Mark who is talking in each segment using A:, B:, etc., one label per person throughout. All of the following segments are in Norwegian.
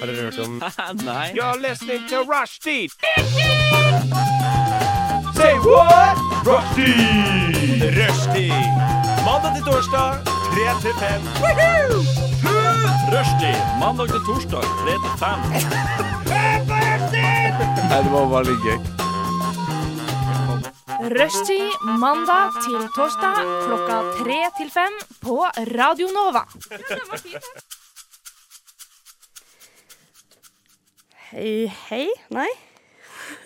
A: Har dere hørt om
B: Nei.
A: You're listening to Rushdie! Say what? Rushdie! Rushdie! Mandag til torsdag, 3 til 5.
B: Rushdie mandag til torsdag 3 til 5.
A: Nei, det var bare litt gøy.
C: Rushtid mandag til torsdag klokka tre til fem på Radio Nova.
D: Hei, Eh, hei? Nei?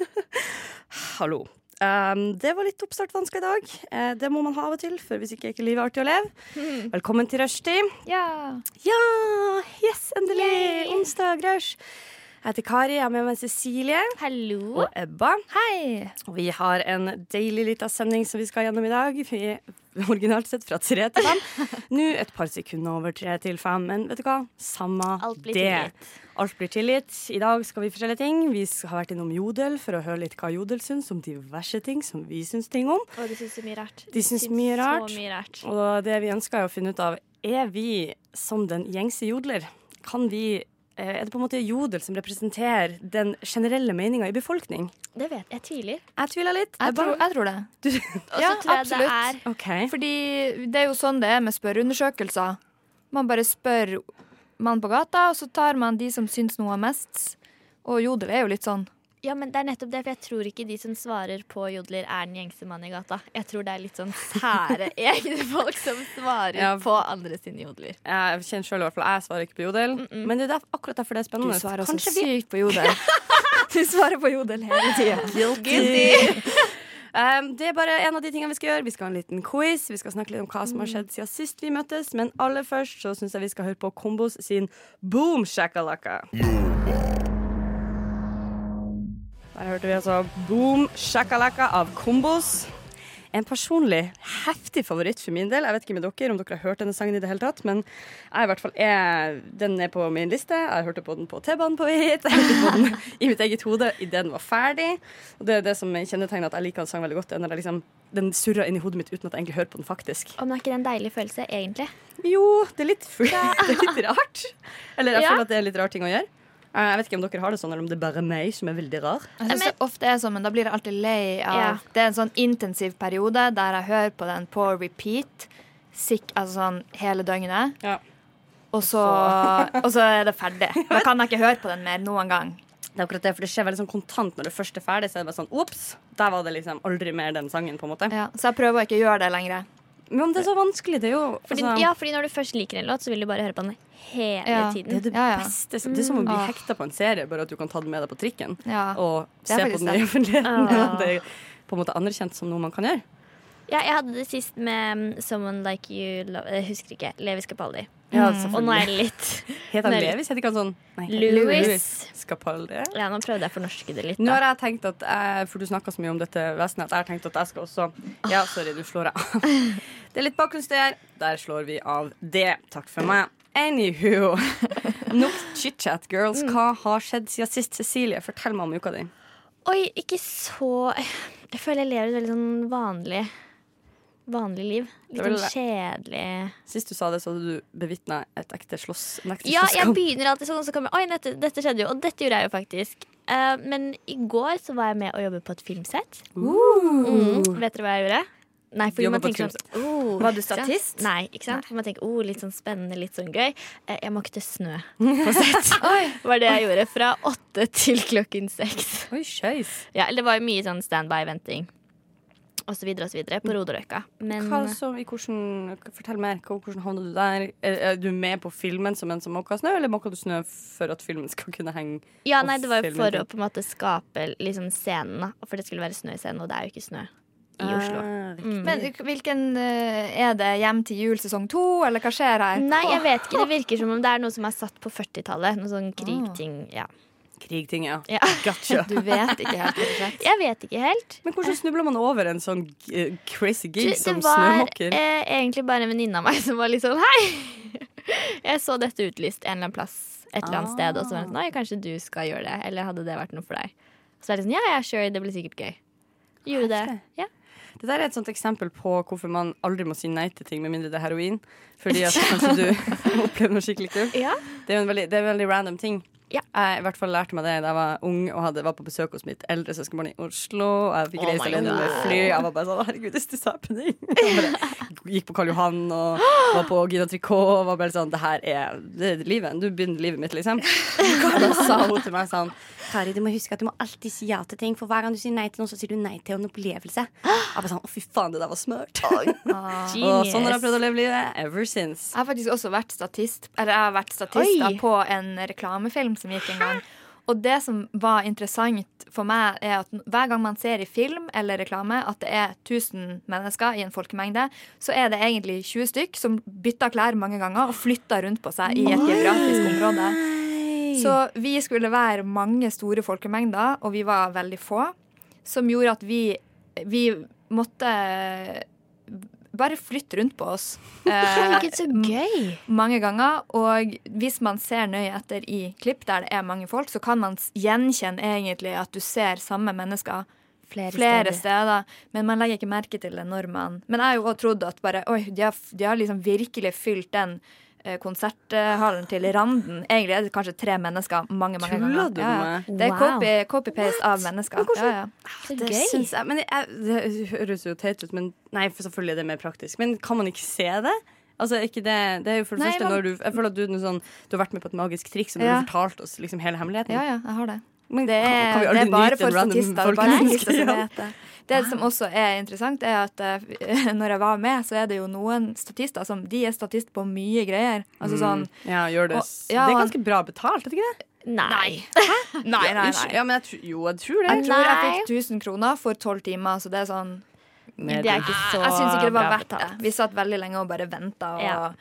D: Hallo. Ehm, det var litt oppstartvansker i dag. Eh, det må man ha av og til, for hvis ikke er ikke livet artig å leve. Velkommen til rushtid.
C: Ja.
D: Ja! Yes, endelig!
C: Yay!
D: Onsdag, rush. Jeg heter Kari, jeg er med meg Cecilie
C: Hallo.
D: og Ebba.
C: Hei.
D: Og vi har en deilig lita sending som vi skal gjennom i dag. Vi Originalt sett fra tre til fem. Nå et par sekunder over tre til fem, men vet du hva? Samme
C: Alt blir
D: det.
C: tilgitt.
D: Alt blir tilgitt. I dag skal vi forskjellige ting. Vi skal- har vært innom Jodel for å høre litt hva Jodel syns om diverse ting som vi syns ting om.
C: Og de syns så mye rart.
D: De syns mye rart.
C: Så mye rart.
D: Og det vi ønsker er å finne ut av, er vi som den gjengse jodler? Kan vi eh, Er det på en måte Jodel som representerer den generelle meninga i befolkning?
C: Det vet jeg. Jeg tviler.
D: Jeg tviler litt.
E: Jeg tror, jeg tror det.
D: Du,
E: Og så
C: Ja,
E: tror jeg
C: absolutt.
E: det er
D: OK.
E: Fordi det er jo sånn det er med spørreundersøkelser. Man bare spør mannen på gata, og så tar man de som syns noe mest. Og jodel er jo litt sånn.
F: Ja, men det er nettopp det, for jeg tror ikke de som svarer på jodler, er den gjengse mannen i gata. Jeg tror det er litt sånn sære egne folk som svarer
D: Ja.
F: på andre sine jodler.
D: Jeg kjenner selv i hvert fall Jeg svarer ikke på jodel. Men det er derf- akkurat derfor det er
E: Du
D: spennende.
E: svarer så
D: Mm, Kanskje vi
E: sykt på jodel. Du svarer på jodel hele tida.
D: Um, Det er bare en av de tingene vi skal gjøre. Vi skal ha en liten quiz. Vi skal snakke litt om hva som
E: Mm.
D: har skjedd siden sist vi møttes. Men aller først så syns jeg vi skal høre på Kombos sin Boom Shakalaka. Der hørte vi altså Boom Shakalaka av Kombos. En personlig heftig favoritt for min del. Jeg vet ikke med dere om dere har hørt denne sangen i det hele tatt, men jeg i hvert fall er, den er på min liste. Jeg hørte på den på T-banen på vei hit. Jeg hørte på den i mitt eget hode idet den var ferdig. Og det er det som kjennetegner at jeg liker en sang veldig godt, det er når jeg liksom, den surrer inn i hodet mitt uten at jeg egentlig hører på den faktisk.
F: Om det er ikke det en deilig følelse, egentlig?
D: Jo, det er litt, fu- det er litt rart. Eller jeg
F: Ja.
D: føler at det er litt rar ting å gjøre. Eh, Jeg vet ikke om dere har det sånn, eller om det er bare meg som er veldig rar.
E: Jeg synes det ofte er sånn, men da blir jeg alltid lei av
F: Ja.
E: Det er en sånn intensiv periode der jeg hører på den på repeat sikk, altså sånn hele døgnet.
D: Ja.
E: Og så, og så er det ferdig. Da kan jeg ikke høre på den mer noen gang.
D: Det er akkurat det, for det skjer veldig sånn kontant når det først er ferdig. Så er det bare sånn, ops, der var det liksom aldri mer den sangen, på en måte.
E: Ja, så jeg prøver å ikke gjøre det lenger.
D: Men det er så vanskelig, det er jo
F: Fordi,
D: altså,
F: ja, fordi når du først liker en låt, så vil du bare høre på den hele
E: Ja,
D: Det er
F: tiden.
D: det
E: Ja, ja.
D: beste. som- Det er som å bli
E: Ah.
D: hekta på en serie, bare at du kan ta den med deg på trikken.
E: Ja.
D: Og
E: Det
D: se
E: er
D: på
E: faktisk
D: den i
E: det.
D: offentligheten.
E: Ah.
D: Det er på en måte anerkjent som noe man kan gjøre.
F: Ja, jeg hadde det sist med um, Someone Like You Love Jeg husker ikke. Levis Capaldi.
D: Ja,
F: Og nå er jeg litt
D: Heter han
F: Nei.
D: Levis? Heter ikke han sånn? Nei,
F: Louis.
D: Skapaldi.
F: Ja, nå prøvde jeg å fornorske det litt.
D: Nå
F: Da.
D: har jeg tenkt at jeg, For du snakka så mye om dette vesenet at jeg har tenkt at jeg skal også
F: Ah.
D: Ja, sorry, du slår jeg av. Det er litt bakgrunnsstøy. Der slår vi av det. Takk for meg. Anywho. Nok chit-chat, girls.
F: Mm.
D: Hva har skjedd siden sist? Cecilie, fortell meg om uka di.
F: Oi, ikke så Jeg føler jeg lever et veldig sånn vanlig Vanlig liv. Litt
D: vel
F: sånn kjedelig
D: Sist du sa det, så hadde du bevitna et ekte slåss. En ekte
F: Ja, jeg
D: slåsskamp.
F: begynner alltid sånn, og så kommer jeg, Oi, dette, dette skjedde jo, og dette gjorde jeg jo faktisk. Eh, men i går så var jeg med å jobbe på et filmsett.
D: Uh!
F: Mm. Vet dere hva jeg gjorde? Nei, fordi
D: Jobbe
F: man
D: på et
F: tenker sånn oh,
D: Var du
F: ikke sant?
D: statist?
F: Nei, ikke sant? For man tenker oh, litt sånn spennende, litt sånn gøy. Eh, jeg måkte snø.
E: Oi,
F: var det jeg gjorde fra åtte til klokken seks.
D: Oi, skjøys.
F: Ja, eller det var jo mye sånn standby-venting og så videre og så videre på Roderøkka. Men eh,
D: Hva så, i hvordan, fortell mer. Hva- Hvordan havna du der? Er, er du med på filmen som en som måker snø, eller måker du snø for at filmen skal kunne henge?
F: Ja,
D: og
F: nei, det var jo
D: filmen
F: for
D: din.
F: å på en måte skape liksom, scenen, da. For det skulle være snø i scenen, og det er jo ikke snø i Oslo.
D: Ah,
E: men hvilken eh, er det? Hjem til jul sesong to, eller hva skjer her?
F: Nei, jeg vet ikke. Det virker som om det er noe som er satt på 40-tallet. Noe sånn krigting. Ja.
D: Krigting, ja.
F: Ja.
D: Gotcha.
E: Ah. Du vet ikke helt. rett og slett.
F: Jeg vet ikke helt.
D: Men hvordan snubler man over en sånn eh, crazy
F: Du,
D: gig
F: Det
D: som
F: var
D: snømåker?
F: eh, egentlig bare en venninne av meg som var litt sånn Hei! Jeg så dette utlyst en eller annen plass et eller annet sted, og så var det sånn Nei, kanskje du skal gjøre det. Eller hadde det vært noe for deg? Så er det sånn Ja, ja, sure. Det blir sikkert gøy. Gjorde det. Ja.
D: Det der er et sånt eksempel på hvorfor man aldri må si nei til ting med mindre det er heroin. Fordi at kanskje du opplever noe skikkelig kult.
F: Ja.
D: Det er jo en veldig, det er en veldig random ting.
F: Ja.
D: Jeg i hvert fall lærte meg det da jeg var ung og hadde, var på besøk hos mitt eldre søskenbarn i Oslo. Og jeg fikk
F: Oh
D: reise
F: my
D: alene med
F: God.
D: fly. Jeg var bare sånn Herregud, this is happening. Jeg bare gikk på Karl Johan og var på Gina Tricot og var bare sånn Det her er, det er livet. Du begynner livet mitt, liksom. Og da sa hun til meg sånn Kari, du må huske at du må alltid si ja til ting, for hver gang du sier nei til noe, så sier du nei til en opplevelse. Jeg bare sånn, å fy faen, det der var smørt. Og sånn har jeg prøvd å leve livet ever since.
E: Jeg har faktisk også vært statist Eller jeg har vært statist da,
F: Oi.
E: på en reklamefilm som gikk en gang. Og det som var interessant for meg, er at hver gang man ser i film eller reklame at det er 1000 mennesker i en folkemengde, så er det egentlig 20 stykk som bytter klær mange ganger og flytter rundt på seg i et geografisk område. Så vi skulle være mange store folkemengder, og vi var veldig få, som gjorde at vi, vi måtte bare flytte rundt på oss. Eh,
F: Herregud, så gøy.
E: mange ganger. Og hvis man ser nøye etter i klipp der det er mange folk, så kan man s- gjenkjenne egentlig at du ser samme mennesker
F: Flere,
E: flere steder. Men man legger ikke merke til det når man Men jeg har jo òg trodd at bare Oi, de har, f- de har liksom virkelig fylt den eh, konserthallen til randen. Egentlig er det kanskje tre mennesker mange, mange
D: Tuller
E: ganger.
D: du med
E: Det er
F: Wow.
E: copy- copy-paste av mennesker. Ja, ja.
F: Så
D: Ah, Det
F: gøy.
D: syns jeg, men jeg, det høres jo teit ut, men nei, for selvfølgelig er det mer praktisk. Men kan man ikke se det? Altså, er ikke det, det er jo for det
E: Nei,
D: første
E: man-
D: når du, Jeg føler at du, er noe sånn, du har vært med på et magisk triks, og du
E: Ja.
D: har fortalt oss liksom hele hemmeligheten.
E: Ja, ja, jeg har det.
D: Men
E: Det
D: kan- kan vi
E: er, Eh, det
D: aldri
E: er bare
D: nyte
E: for
D: random
E: statister. Det, er bare
D: folkemennesker?
E: statister som
D: Ja.
E: vet det. det som også er interessant, er at eh, når jeg var med, så er det jo noen statister som De er statist på mye greier. Altså sånn
D: Ja, gjør det.
E: Og- ja,
D: det er
E: han-
D: ganske bra betalt, er det ikke det?
F: Nei.
E: Nei, nei,
D: Unnskyld,
E: nei.
D: Ja, men jeg tror, jo, jeg tror det.
E: Jeg tror jeg
F: Nei.
E: fikk 1000 kroner for tolv timer, så det er sånn
D: Mer
F: Det er ikke så
E: Ah, Jeg syns ikke det var
F: bra
E: verdt det.
F: betalt.
E: Vi satt veldig lenge og bare venta, og
F: Ja.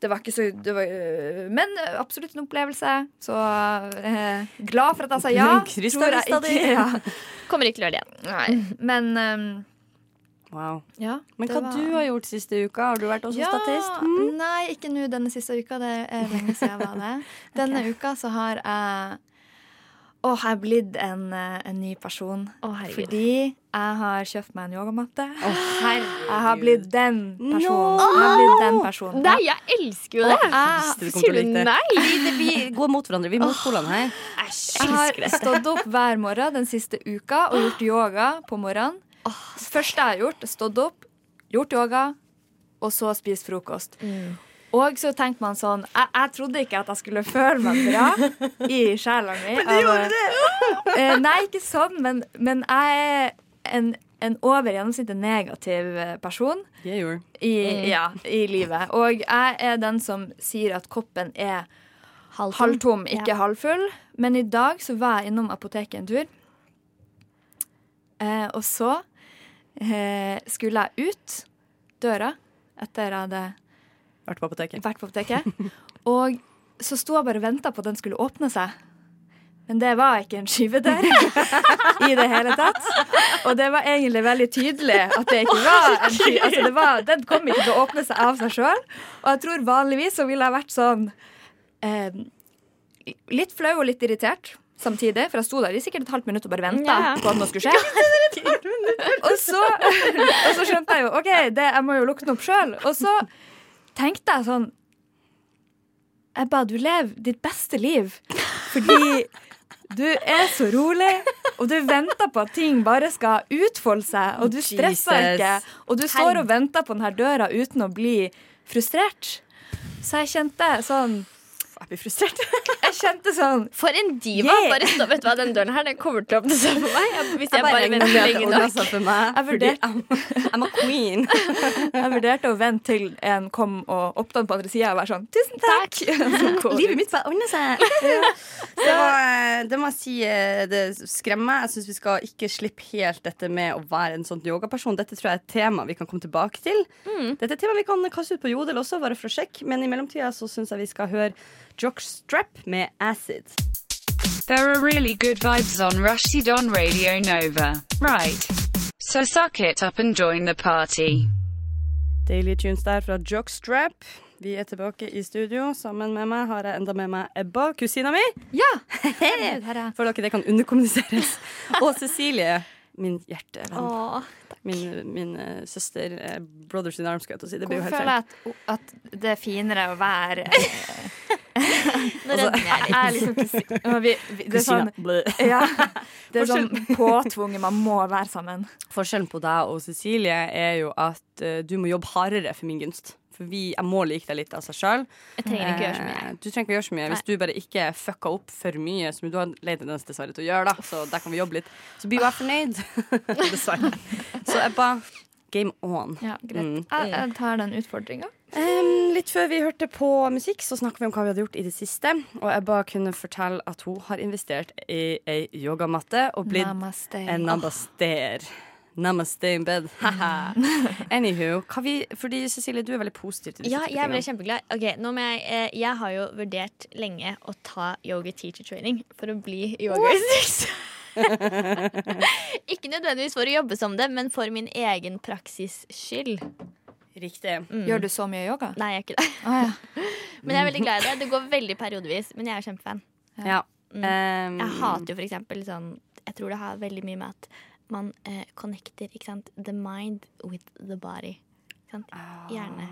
E: det var ikke så det var, øh, Men øh, absolutt en opplevelse. Så øh, glad for at jeg sa ja.
D: Men krysstavista di.
E: ja.
F: Kommer ikke til å gjøre det igjen.
E: Nei. Men øhm,
D: Wow.
E: ja.
D: Men
E: det
D: hva
E: var-
D: du har gjort siste uka? Har du vært også statist? Mm.
E: Nei, ikke nå denne siste uka. Det er lenge siden jeg var det. Denne uka så har jeg Å, jeg er blitt en, eh, en ny person.
F: Å, herregud.
E: Fordi jeg har kjøpt meg en yogamatte.
D: herregud.
E: Jeg har blitt den personen.
D: No!
E: Jeg har blitt den personen.
F: Nei, jeg elsker jo det.
E: Jeg,
D: du
F: Sier du nei?
D: Vi går mot hverandre. Vi er mot polene her.
E: jeg har stått opp hver morgen den siste uka og gjort yoga på morgenen. Det første jeg har gjort, er stått opp, gjort yoga, og så spist frokost. Og så tenkte man sånn jeg, jeg trodde ikke at jeg skulle føle meg bra i sjela mi. Men du gjorde det! nei, ikke sånn, men, men jeg er en, en over gjennomsnittet negativ eh, person
D: Det gjorde
E: i, ja, i livet. Og jeg er den som sier at koppen er Halvtom, ikke halvfull. Men i dag så var jeg innom apoteket en tur. Eh, og så eh, skulle jeg ut døra etter jeg hadde
D: Vært på apoteket.
E: vært på apoteket. Og så sto jeg bare og venta på at den skulle åpne seg. Men det var ikke en skyvedør i det hele tatt. Og det var egentlig veldig tydelig at det ikke var en sky. Altså det var, den kom ikke til å åpne seg av seg sjøl. Og jeg tror vanligvis så ville jeg vært sånn eh, litt flau og litt irritert samtidig. For jeg sto der i sikkert et halvt minutt og bare venta
F: Ja.
E: på at noe skulle skje. Og så, og så skjønte jeg jo OK, det, jeg må jo lukte den opp sjøl. Og så tenkte jeg sånn Jeg ba du lever ditt beste liv fordi du er så rolig, og du venter på at ting bare skal utfolde seg, og du stresser
D: Jesus.
E: ikke. Og du står og venter på denne døra uten å bli frustrert. Så jeg kjente sånn
D: Jeg blir frustrert.
E: Jeg kjente sånn
F: For en diva.
E: Yeah.
F: Bare stå, vet du hva, Den døren her den kommer til å åpne seg for meg. Jeg- Hvis jeg
D: Jeg
F: bare
D: regner
F: venter
D: med at det
F: lenge
D: ordner
F: nok.
D: seg for meg.
E: Jeg
D: fordi I'm- I'm a queen.
E: Jeg vurderte å vente til en kom og åpna den på andre sida og være sånn Tusen takk! Så går
D: Livet
E: jeg ut.
D: mitt bare ordner seg. Det, var, det må jeg si eh, det skremmer meg. Jeg syns vi skal ikke slippe helt dette med å være en sånn yogaperson. Dette tror jeg er et tema vi kan komme tilbake til. Dette er et tema vi kan kaste ut på Jodel også, bare for å sjekke. Men i mellomtida så syns jeg vi skal høre Jockstrap med Acid.
G: There are really good vibes on Rushdie on Radio Nova. Right. So suck it up and join the party.
D: Daily Tunes der fra Jockstrap. Vi er tilbake i studio. Sammen med meg har jeg enda med meg Ebba, kusina mi.
E: Ja! Herregud, her er jeg.
D: For dere, det kan underkommuniseres. Og Cecilie. min hjertevenn.
F: Åh,
D: Min, min eh, søster. eh, brothers in arms, skal jeg til å si. Det blir jo
E: Hvorfor
D: helt
E: føler
D: feil.
E: jeg at, at det er finere å være
F: nå redder Altså, jeg
E: Jeg er liksom kusin- vi, vi, Det er sånn,
D: Kusina. Bleh.
E: ja, det er sånn påtvunget. Man må være sammen.
D: Forskjellen på deg og Cecilie er jo at eh, du må jobbe hardere for min gunst. For vi, jeg må like deg litt av seg sjøl.
F: Jeg trenger ikke gjøre så mye.
D: Du trenger ikke gjøre så mye hvis du bare ikke fucka opp for mye, som du har lei tendens dessverre til å gjøre, da. Så der kan vi jobbe litt. Så blir jo jeg fornøyd. dessverre. Så jeg bare Game on.
E: Ja, greit.
D: Mm.
E: Jeg, jeg tar den utfordringa.
D: Em, litt før vi hørte på musikk, så snakka vi om hva vi hadde gjort i det siste. Og jeg bare kunne fortelle at hun har investert i ei yogamatte og blitt
E: Namaste.
D: en namaster. Namaste in bed. Haha. Anywho, hva vi, fordi Cecilie, du er veldig positiv til disse
F: Ja,
D: type
F: jeg ble
D: tingene.
F: kjempeglad. Ok, nå må jeg, eh, jeg har jo vurdert lenge å ta yoga teacher training for å bli yogainstruktør. ikke nødvendigvis for å jobbe som det, men for min egen praksis skyld. Mm.
D: Riktig.
E: Gjør du så mye yoga?
F: Nei, jeg er ikke det.
E: Ah, ja.
F: Men jeg er veldig glad i det. Det går veldig periodevis, men jeg er kjempefan.
D: Ja.
F: Mm.
D: Em,
F: Jeg hater jo for eksempel sånn Jeg tror det har veldig mye med at man eh, connecter ikke sant? the mind with the body. Ikke sant?
D: Ah,
F: Hjerne.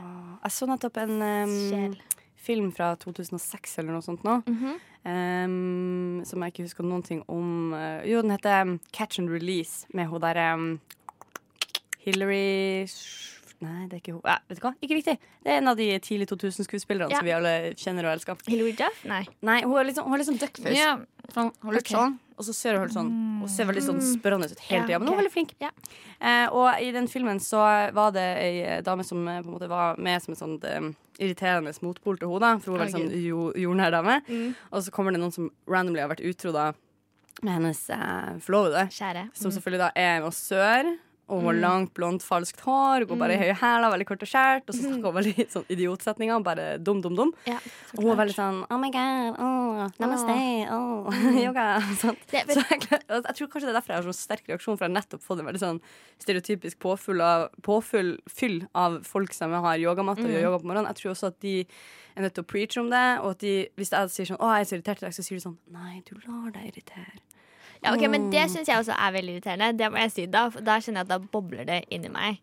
D: Jeg så nettopp en em,
F: Sjel.
D: film fra 2006 eller noe sånt nå.
F: Mhm.
D: em, som jeg ikke husker noen ting om. Eh, Jo, den heter em, Catch and Release, med hun der em, Hillary Sh- Nei, det er ikke hun. Ja, vet du hva? Ikke viktig. Det er en av de tidlig 2000-skuespillerne
F: Ja.
D: som vi alle kjenner og elsker.
F: Hilary Duff? Nei.
D: Nei, hun er litt sånn, hun er litt sånn duckface.
E: Ja.
D: Sånn, hun er litt
E: Ok.
D: sånn, og så ser hun helt sånn Og ser veldig sånn spørrende ut hele
F: Ja,
D: tida, men hun er
F: ok.
D: veldig flink.
F: Ja.
D: Eh, og i den filmen så var det ei eh, dame som eh, på en måte var med som en sånn eh, irriterende motpol til henne, da, for hun var en sånn jo, jordnær dame. Og så kommer det noen som randomly har vært utro da med hennes eh, forlovede,
F: Kjære.
D: som selvfølgelig da er en massør. Og hun har langt, blondt, falskt hår, går bare i høye hæler, veldig kort og skjært. Og så snakker hun veldig sånn idiotsetninger, bare dum, dum, dum.
F: Ja,
D: Og hun var veldig sånn Oh my god, oh, namaste, oh, yoga. Sånn.
F: Det-
D: Så jeg, klar- og jeg tror kanskje det er derfor jeg har så sterk reaksjon, for jeg har nettopp fått en veldig sånn stereotypisk påfyll av, påfyll, fyll av folk som har yogamatte og
E: Mm.
D: gjør yoga på morgenen. Jeg tror også at de er nødt til å preache om det, og at de, hvis jeg sier sånn Å, jeg er så irritert i dag, så sier de sånn Nei, du lar deg irritere.
F: Ja, ok, Men det syns jeg også er veldig irriterende. Det må jeg si Da for da kjenner jeg at da bobler det inni meg.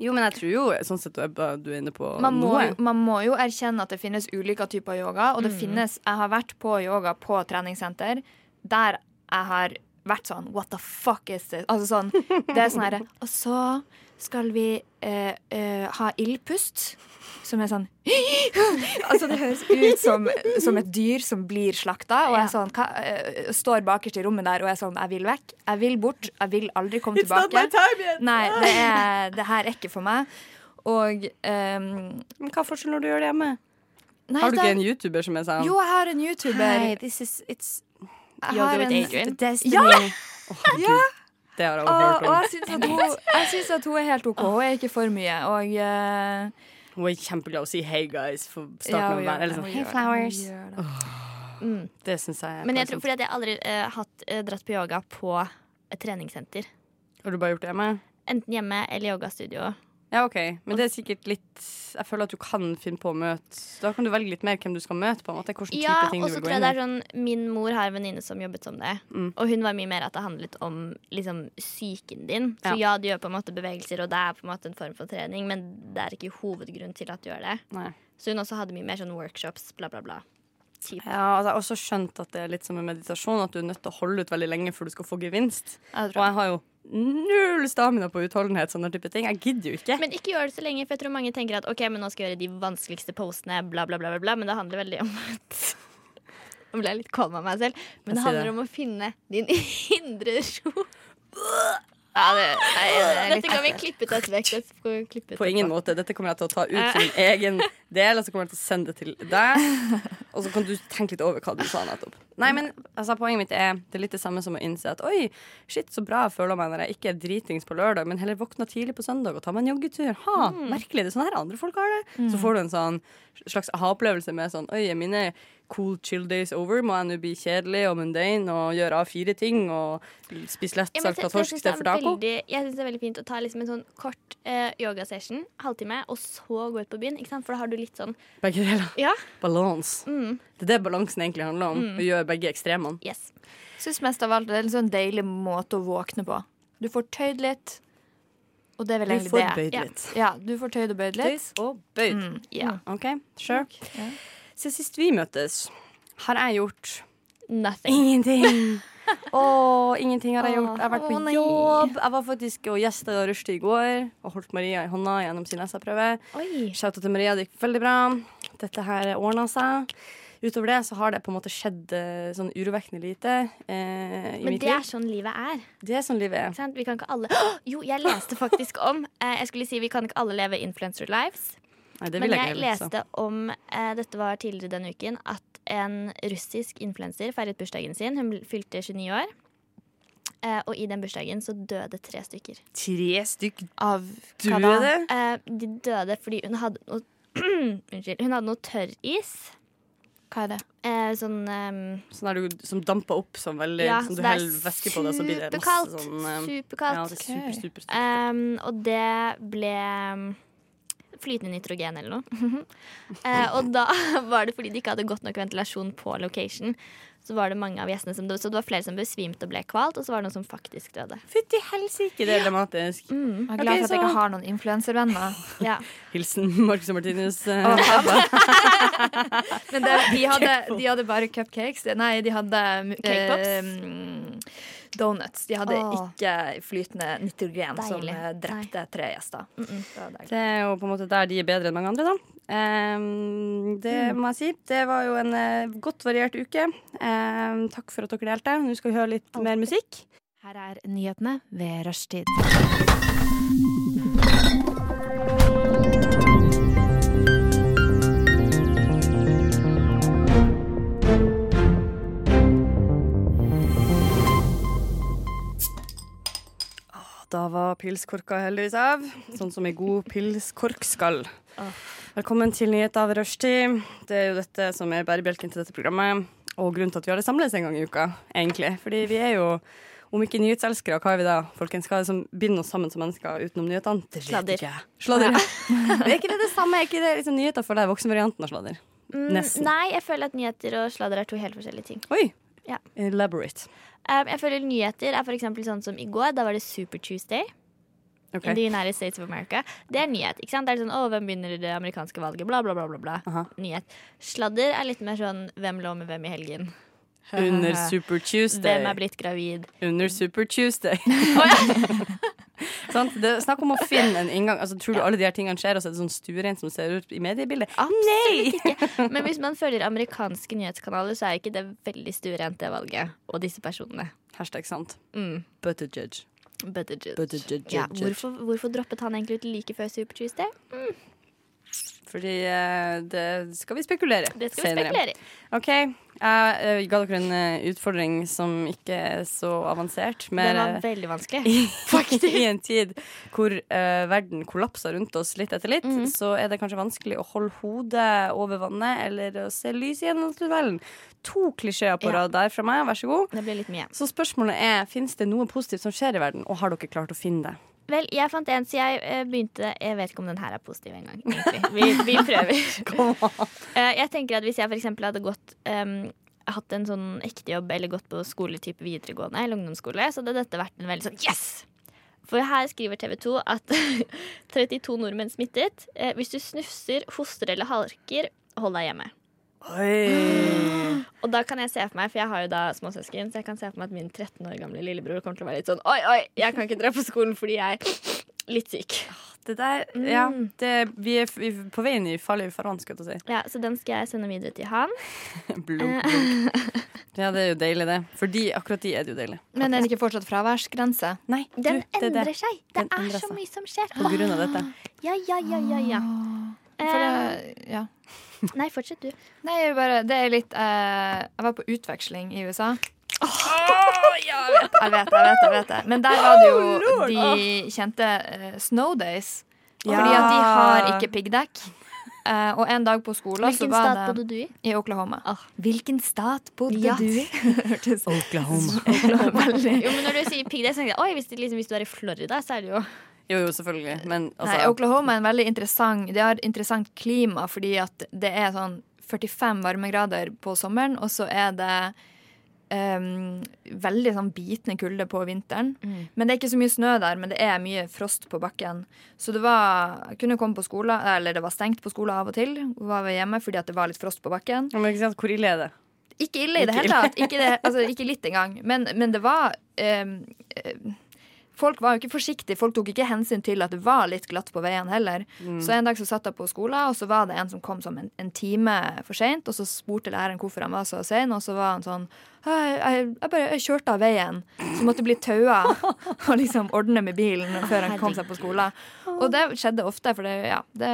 D: Jo, men jeg tror jo sånn sett du er, du er inne på
E: Man må,
D: noe.
E: jo, man må jo erkjenne at det finnes ulike typer yoga. Og det finnes Jeg har vært på yoga på treningssenter der jeg har vært sånn What the fuck is this? Altså sånn Det er sånn herre Og så skal vi eh, eh, ha ildpust, som er sånn Altså det høres ut som, som et dyr som blir slakta, og jeg er sånn, hva, eh, står bakerst i rommet der og er sånn Jeg vil vekk. Jeg vil bort. Jeg vil aldri komme tilbake. Nei, det, er, det her er ikke for meg. Og ehm,
D: Men hva er forskjellen når du gjør det hjemme?
E: Nei,
D: Har du ikke
E: da-
D: en YouTuber som er sånn
E: Jo, jeg har en YouTuber.
D: Hei, this is it's
E: Jeg
F: Yoga
E: har
F: with
E: en-
F: Adrian.
D: destiny. Åh, Gud. Det har jeg
E: Å,
D: også hørt
E: og
D: om.
E: jeg syns at, hun- jeg synes at hun er helt OK. Hun er ikke for mye. Og eh,
D: Hun er kjempeglad og sier 'hei, guys' for
E: ja,
D: starten av
E: hun
D: hver.
E: gjør
D: Eller
E: det,
D: sånn,
E: hun
D: «Hei,
E: gjør det, hun
D: flowers.
E: gjør det.
D: Det syns jeg. er
F: Mm.
D: sånn.
F: Men jeg tror,
D: plagsomt.
F: fordi at jeg aldri eh, hatt, eh, dratt på yoga på et treningssenter.
D: Har du bare gjort det hjemme?
F: Enten hjemme eller yogastudio.
D: Ja, OK. Men det er sikkert litt Jeg føler at du kan finne på å møte Da kan du velge litt mer hvem du skal møte, på en måte. Hvilken type
F: Ja,
D: ting
F: og
D: du
F: så
D: vil
F: tror
D: gå
F: jeg
D: inn
F: det
D: i.
F: er
D: Mm.
F: sånn Min mor har en venninne som jobbet som det. Og hun var mye mer at det handlet om liksom, psyken din. Så ja. du gjør på en måte bevegelser, og det er på en måte en form for trening, men det er ikke hovedgrunn til at du gjør det.
D: Nei.
F: Så hun også hadde mye mer sånn workshops, bla, bla, bla. Typ.
D: Ja, altså, jeg har også skjønt at det er litt som med meditasjon, at du er nødt til å holde ut veldig lenge før du skal få gevinst.
E: Jeg
D: Og
E: tror-
D: jeg har jo null stamina på utholdenhet, sånne type ting. Jeg gidder jo ikke.
F: Men ikke gjør det så lenge, for jeg tror mange tenker at ok, men nå skal jeg gjøre de vanskeligste posene, bla, bla, bla, bla, bla. Men det handler veldig om at Nå ble jeg litt kvalm av meg selv,
D: Jeg
F: men det
D: ser
F: handler
D: det.
F: om å finne din indre ro.
E: Ja, det, nei, det er
F: Dette
E: litt
F: kan vi klippe tett vekk. Dette skal vi klippe
D: På
F: etterpå.
D: ingen måte. Dette kommer jeg til å ta ut som min
F: Eh.
D: egen del, og så kommer jeg til å sende det til deg. Og så kan du tenke litt over hva du sa nettopp. Nei, men altså, Poenget mitt er det er litt det samme som å innse at oi, shit, så bra jeg føler meg når jeg ikke er dritings på lørdag, men heller våkner tidlig på søndag og tar meg en joggetur. Ha,
F: Mm.
D: Merkelig. Det er sånn her andre folk har det. Så får du en sånn slags aha-opplevelse med sånn oi, er mine cool chill days over? Må jeg nå bli kjedelig og mundane og gjøre av fire ting og spise lett
F: Ja, men
D: salta
F: så- så jeg
D: torsk
F: synes det er
D: istedenfor taco?
F: veldig- Jeg syns det er veldig fint å ta liksom en sånn kort eh, yogasession, halvtime, og så gå ut på byen. Ikke sant? For da har du litt sånn
D: Begge deler.
F: Ja.
D: Balanse.
F: Mm.
D: Det er det balansen egentlig handler om. Å gjøre begge ekstremene.
F: Yes.
E: Syns mest av alt det er en sånn deilig måte å våkne på. Du får tøyd litt, og det
D: Du
E: er vel egentlig
D: får
E: det.
D: bøyd
F: ja.
D: litt.
E: Ja, du får tøyd og bøyd litt.
D: Tøyd og bøyd.
E: Mm, ja.
D: OK, sure.
E: Ja.
D: Siden sist vi møttes, har jeg gjort
F: Nothing.
D: Ingenting. Å, ingenting har jeg gjort. Jeg har vært på
F: Å, nei.
D: jobb. Jeg var faktisk og gjesta Rushdie i går og holdt Maria i hånda gjennom sin SA-prøve.
F: Oi.
D: Shouta til Maria, det gikk veldig bra. Dette her ordna seg. Utover det så har det på en måte skjedd eh, sånn urovekkende lite eh, i
F: Men
D: mitt
F: det er
D: liv.
F: sånn livet er.
D: Det er sånn livet er.
F: Ikke sant? Vi kan ikke alle Åh, Jo, jeg leste faktisk om eh, Jeg skulle si vi kan ikke alle leve influencer lives.
D: Nei, det
F: Men
D: vil jeg
F: jeg
D: ikke altså. heller, så.
F: leste om eh, Dette var tidligere denne uken At en russisk influenser feiret bursdagen sin Hun fylte 29 år eh, Og i den bursdagen så døde tre stykker
D: Tre stykk
E: Av hva da?
D: døde.
F: eh, De døde fordi hun hadde noe Unnskyld, hun hadde noe tørris
E: Hva er det?
F: eh, Sånn eh,
D: Sånn er du, som damper opp sånn veldig
F: Ja,
D: Som
F: så
D: du
F: det er
D: heller væske på deg, så blir det masse
F: superkaldt.
D: sånn eh, Ja,
F: Superkaldt
D: det er super, super, super.
F: Ehm, og det ble mm, flytende nitrogen eller noe. Eh, og da var det fordi de ikke hadde godt nok ventilasjon på location. Så var det mange av gjestene som døde. Så det var flere som besvimte og ble kvalt, og så var det noen som faktisk døde.
D: Fytti helsike, det er dramatisk.
F: Mm.
E: Jeg
D: Ok,
E: er glad for at jeg
D: så-
E: ikke har noen influenservenner.
F: Ja.
D: Hilsen Marcus og Martinus. eh,
E: Å, Men det, de, hadde, de hadde bare cupcakes. Nei, de hadde
F: Cake pops?
E: Eh, donuts. De hadde
F: Åh.
E: ikke flytende nitrogen som
F: Deilig.
E: eh, drepte tre gjester. Det var deilig.
D: Det er jo på en måte der de er bedre enn mange andre, da. Ehm, det må jeg si. Det var jo en eh, godt variert uke. Ehm, takk for at dere delte. Nå skal vi høre litt mer musikk.
H: Her er nyhetene ved rushtid.
D: Da var pilskorka heldigvis av, sånn som ei god pilskork skal. Velkommen til nyheter av rushtid. Det er jo dette som er bærebjelken til dette programmet. Og grunnen til at vi har det samles en gang i uka, egentlig. Fordi vi er jo, om ikke nyhetselskere, hva er vi da? Folkens, hva er det som binder oss sammen som mennesker utenom nyhetene? Det vet
F: Sladder.
D: ikke jeg. Sladder. Men er ikke det det samme? Er ikke det liksom nyheter for deg, voksenvarianten av sladder?
F: Mm,
D: Nesten.
F: Nei, jeg føler at nyheter og sladder er to helt forskjellige ting.
D: Oi!
F: Ja.
D: Elaborate.
F: Ehm, jeg føler nyheter er for eksempel sånn som i går. Da var det Super Tuesday.
D: Ok.
F: In the United States of America. Det er nyhet. ikke sant? Det er sånn, å, Hvem begynner det amerikanske valget? Bla, bla, bla. bla, bla.
D: Aha.
F: Nyhet. Sladder er litt mer sånn hvem lå med hvem i helgen?
D: Under Super Tuesday.
F: Hvem er blitt gravid?
D: Under Super Tuesday. Sant? Det, snakk om å finne en inngang. Altså, tror du alle de her tingene skjer, og så er det sånn stuereint som ser ut i mediebildet? Nei!
F: Men hvis man følger amerikanske nyhetskanaler, så er ikke det veldig stuerent, det valget. Og disse personene.
D: Hashtag sant.
F: Mm.
D: But a judge.
F: But the judge.
D: But the judge,
F: Ja,
D: judge,
F: hvorfor, hvorfor droppet han egentlig ut like før Super Tuesday?
D: Fordi eh, det skal vi spekulere
F: Det skal vi spekulere i.
D: OK. Jeg eh, ga dere en eh, utfordring som ikke er så avansert.
F: Den
D: Men
F: var
D: eh,
F: veldig vanskelig.
D: i en tid hvor eh, verden kollapser rundt oss litt etter litt, så er det kanskje vanskelig å holde hodet over vannet eller å se lys gjennom tunnelen. To klisjeer på
F: Ja.
D: rad der fra meg, vær så god.
F: Det ble litt mye.
D: Så spørsmålet er, fins det noe positivt som skjer i verden, og har dere klart å finne det?
F: Vel, jeg fant en, så jeg eh, begynte Jeg vet ikke om den her er positiv engang. egentlig. Vi, vi prøver. Eh, Jeg tenker at Hvis jeg for eksempel hadde gått em, hatt en sånn ekte jobb eller gått på skoletype videregående eller ungdomsskole, så hadde dette vært en veldig sånn yes! For her skriver TV 2 at 32 nordmenn smittet. Eh, Hvis du snufser, hoster eller harker, hold deg hjemme.
D: Oi.
F: Og da kan jeg se for meg, for jeg har jo da småsøsken, så jeg kan se for meg at min 13 år gamle lillebror kommer til å være litt sånn oi, oi, jeg kan ikke dra på skolen fordi jeg er litt syk.
D: Det der, ja. Det, vi er f- vi er på veien i farlig farvann, skal jeg til å si.
F: Ja, Så den skal jeg sende videre til han.
D: Blunk, blunk. Ja, det er jo deilig, det. For de, akkurat de er det jo deilig.
E: Men er det ikke fortsatt fraværsgrense?
D: Nei, du,
F: Den
D: det er
F: endrer
D: det.
F: seg. Det
D: Den endrer
F: er så
D: seg.
F: mye som skjer.
D: På grunn av dette.
F: Ja, ja, ja, ja, ja.
E: For
F: Eh,
E: det, ja.
F: nei, fortsett du.
E: Nei, jeg bare, det er litt eh, Jeg var på utveksling i USA. jeg vet, jeg vet, jeg vet det. Men der var det jo de kjente eh, Snow Days. Fordi at de har ikke piggdekk. Eh, og en dag på skolen så
F: Hvilken
E: var
F: stat
E: det
F: bodde du i?
E: I Oklahoma.
F: Ah.
E: Hvilken stat bodde
F: Ja.
E: du i? Hørtes
D: Oklahoma.
E: veldig
F: Jo, men Når du sier piggdekk, så tenker jeg oi, hvis, det, liksom, hvis du er i Florida, så er det jo
D: Jo, jo, selvfølgelig. Men altså
E: Nei, Oklahoma er en veldig interessant Det har interessant klima fordi at det er sånn 45 varmegrader på sommeren, og så er det em, veldig sånn bitende kulde på vinteren. Men det er ikke så mye snø der, men det er mye frost på bakken. Så det var, jeg kunne komme på skolen, eller det var stengt på skolen av og til. Var vi hjemme fordi at det var litt frost på bakken.
D: Ja, men ikke sant, Hvor ille er det?
E: Ikke ille i det hele tatt. Ikke, det, altså, ikke litt engang. Men, men det var ehm, eh, Folk var jo ikke forsiktige. Folk tok ikke hensyn til at det var litt glatt på veien heller. Så en dag så satt jeg på skolen, og så var det en som kom som en, en time for seint. Og så spurte læreren hvorfor han var så sein, og så var han sånn «Hei, jeg, jeg bare jeg kjørte av veien. Så måtte jeg bli taua og liksom ordne med bilen før han kom seg på skolen. Og det skjedde ofte, for det, ja, det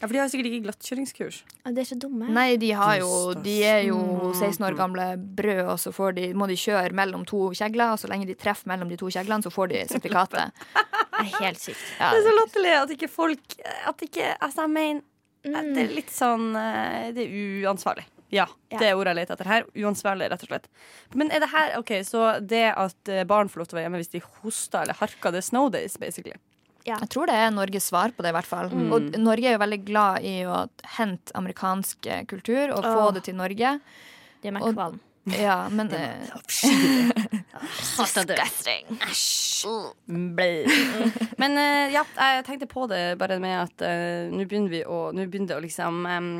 D: Ja, For de har sikkert ikke glattkjøringskurs.
F: Å, de er så dumme.
E: Nei, de, har jo,
D: Stakkars.
E: de er
F: Mm.
E: jo 16 år gamle brød, og så får de, må de kjøre mellom to kjegler. Og så lenge de treffer mellom de to kjeglene, så får de sertifikatet.
F: Det er helt sykt.
E: Ja.
D: Det er så latterlig at ikke folk at ikke, Altså, jeg mener at Det er litt sånn eh, Det er uansvarlig. Ja,
F: Ja.
D: det er ordet jeg leter etter her. Uansvarlig, rett og slett. Men er det her OK, så det at eh, barn får lov til å være hjemme hvis de hoster eller harker, det er snow days, basically.
E: Jeg tror det er Norges svar på det, i hvert fall.
F: Mm.
E: Og Norge er jo veldig glad i å hente amerikansk eh, kultur og få
F: Åh.
E: det til Norge.
F: Det er
E: Og-
F: kvalm.
E: Ja, men eh,
D: Men eh, ja, jeg tenkte på det bare med at eh, nå begynner vi å Nå begynner det å liksom em,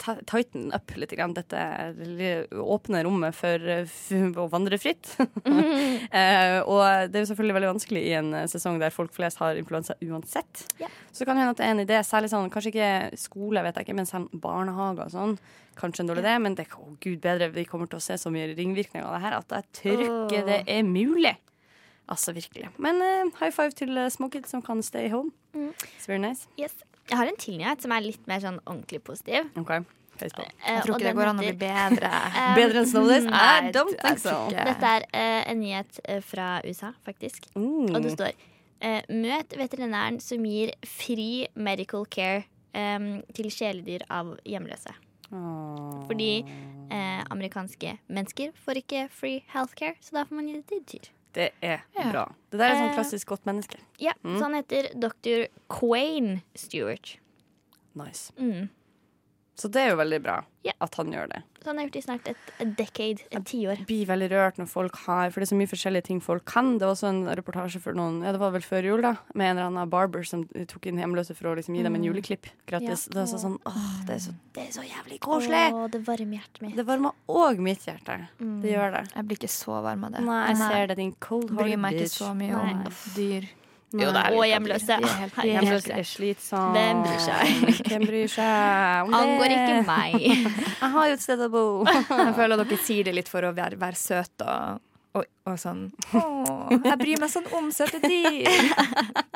D: ta- tighten up litt grann dette lille åpne rommet for, eh, f- å vandre fritt. Eh, og det er jo selvfølgelig veldig vanskelig i en eh, sesong der folk flest har influensa uansett.
F: Ja.
D: Så kan det hende at det er en idé, særlig sånn kanskje ikke skole, vet jeg ikke, men selv barnehager og sånn. Kanskje en dårlig idé, men det, å gud bedre, vi kommer til å se så mye ringvirkninger av det her at jeg tror ikke
F: Åh.
D: det er mulig. Altså virkelig. Men eh, high five til uh, småkids som kan stay home.
F: Mm.
D: It's very nice.
F: Yes. Jeg har en til nyhet som er litt mer sånn ordentlig positiv. Eh,
D: Ok, høys på.
E: jeg tror ikke det går an å bli bedre.
F: Um,
D: Bedre enn Ah, Snow Days? I
E: jeg-
D: don't
E: jeg
D: think so.
E: tror ikke.
F: Dette er eh, en nyhet eh, fra USA, faktisk.
D: Mm.
F: Og det står eh, Møt veterinæren som gir fri medical care em, til kjæledyr av hjemløse.
D: Åh.
F: Fordi eh, amerikanske mennesker får ikke free healthcare, så da får man gi det til dyr.
D: Det er bra. Det der er sånn
F: Eh.
D: klassisk godt menneske.
F: Ja,
D: Mm.
F: Så han heter dr. Quayne Stewart.
D: Nice.
F: Mm.
D: Så det er jo veldig bra
F: Ja.
D: at han gjør det.
F: Så han har gjort det i snart et, et decade, et tiår.
D: blir veldig rørt når folk har For det er så mye forskjellige ting folk kan. Det var også en reportasje for noen, ja det var vel før jul, da, med en eller annen barber som tok inn hjemløse for å liksom gi dem en juleklipp gratis.
F: Mm. Ja.
D: Det var så sånn åh, det er så, det er så jævlig koselig!
F: Å, det varmer hjertet mitt. Mm.
D: Det varmer òg mitt hjerte. Det gjør det.
E: Jeg blir ikke så varm av det.
D: Nei, jeg ser det, din cold
E: bryr
D: hearted
E: meg ikke
D: bitch.
E: så mye om dyr.
D: Nei.
F: Og hjemløse.
E: De er helt- de er helt
D: Hjemløse er slitsomt.
F: Hvem bryr seg?
D: Hvem bryr seg? om
F: Angår
D: det?
F: ikke meg.
D: Jeg har jo et sted å bo.
E: Jeg føler at dere sier det litt for å være, være søt og, og, og sånn Åh, jeg bryr meg sånn om søte dyr.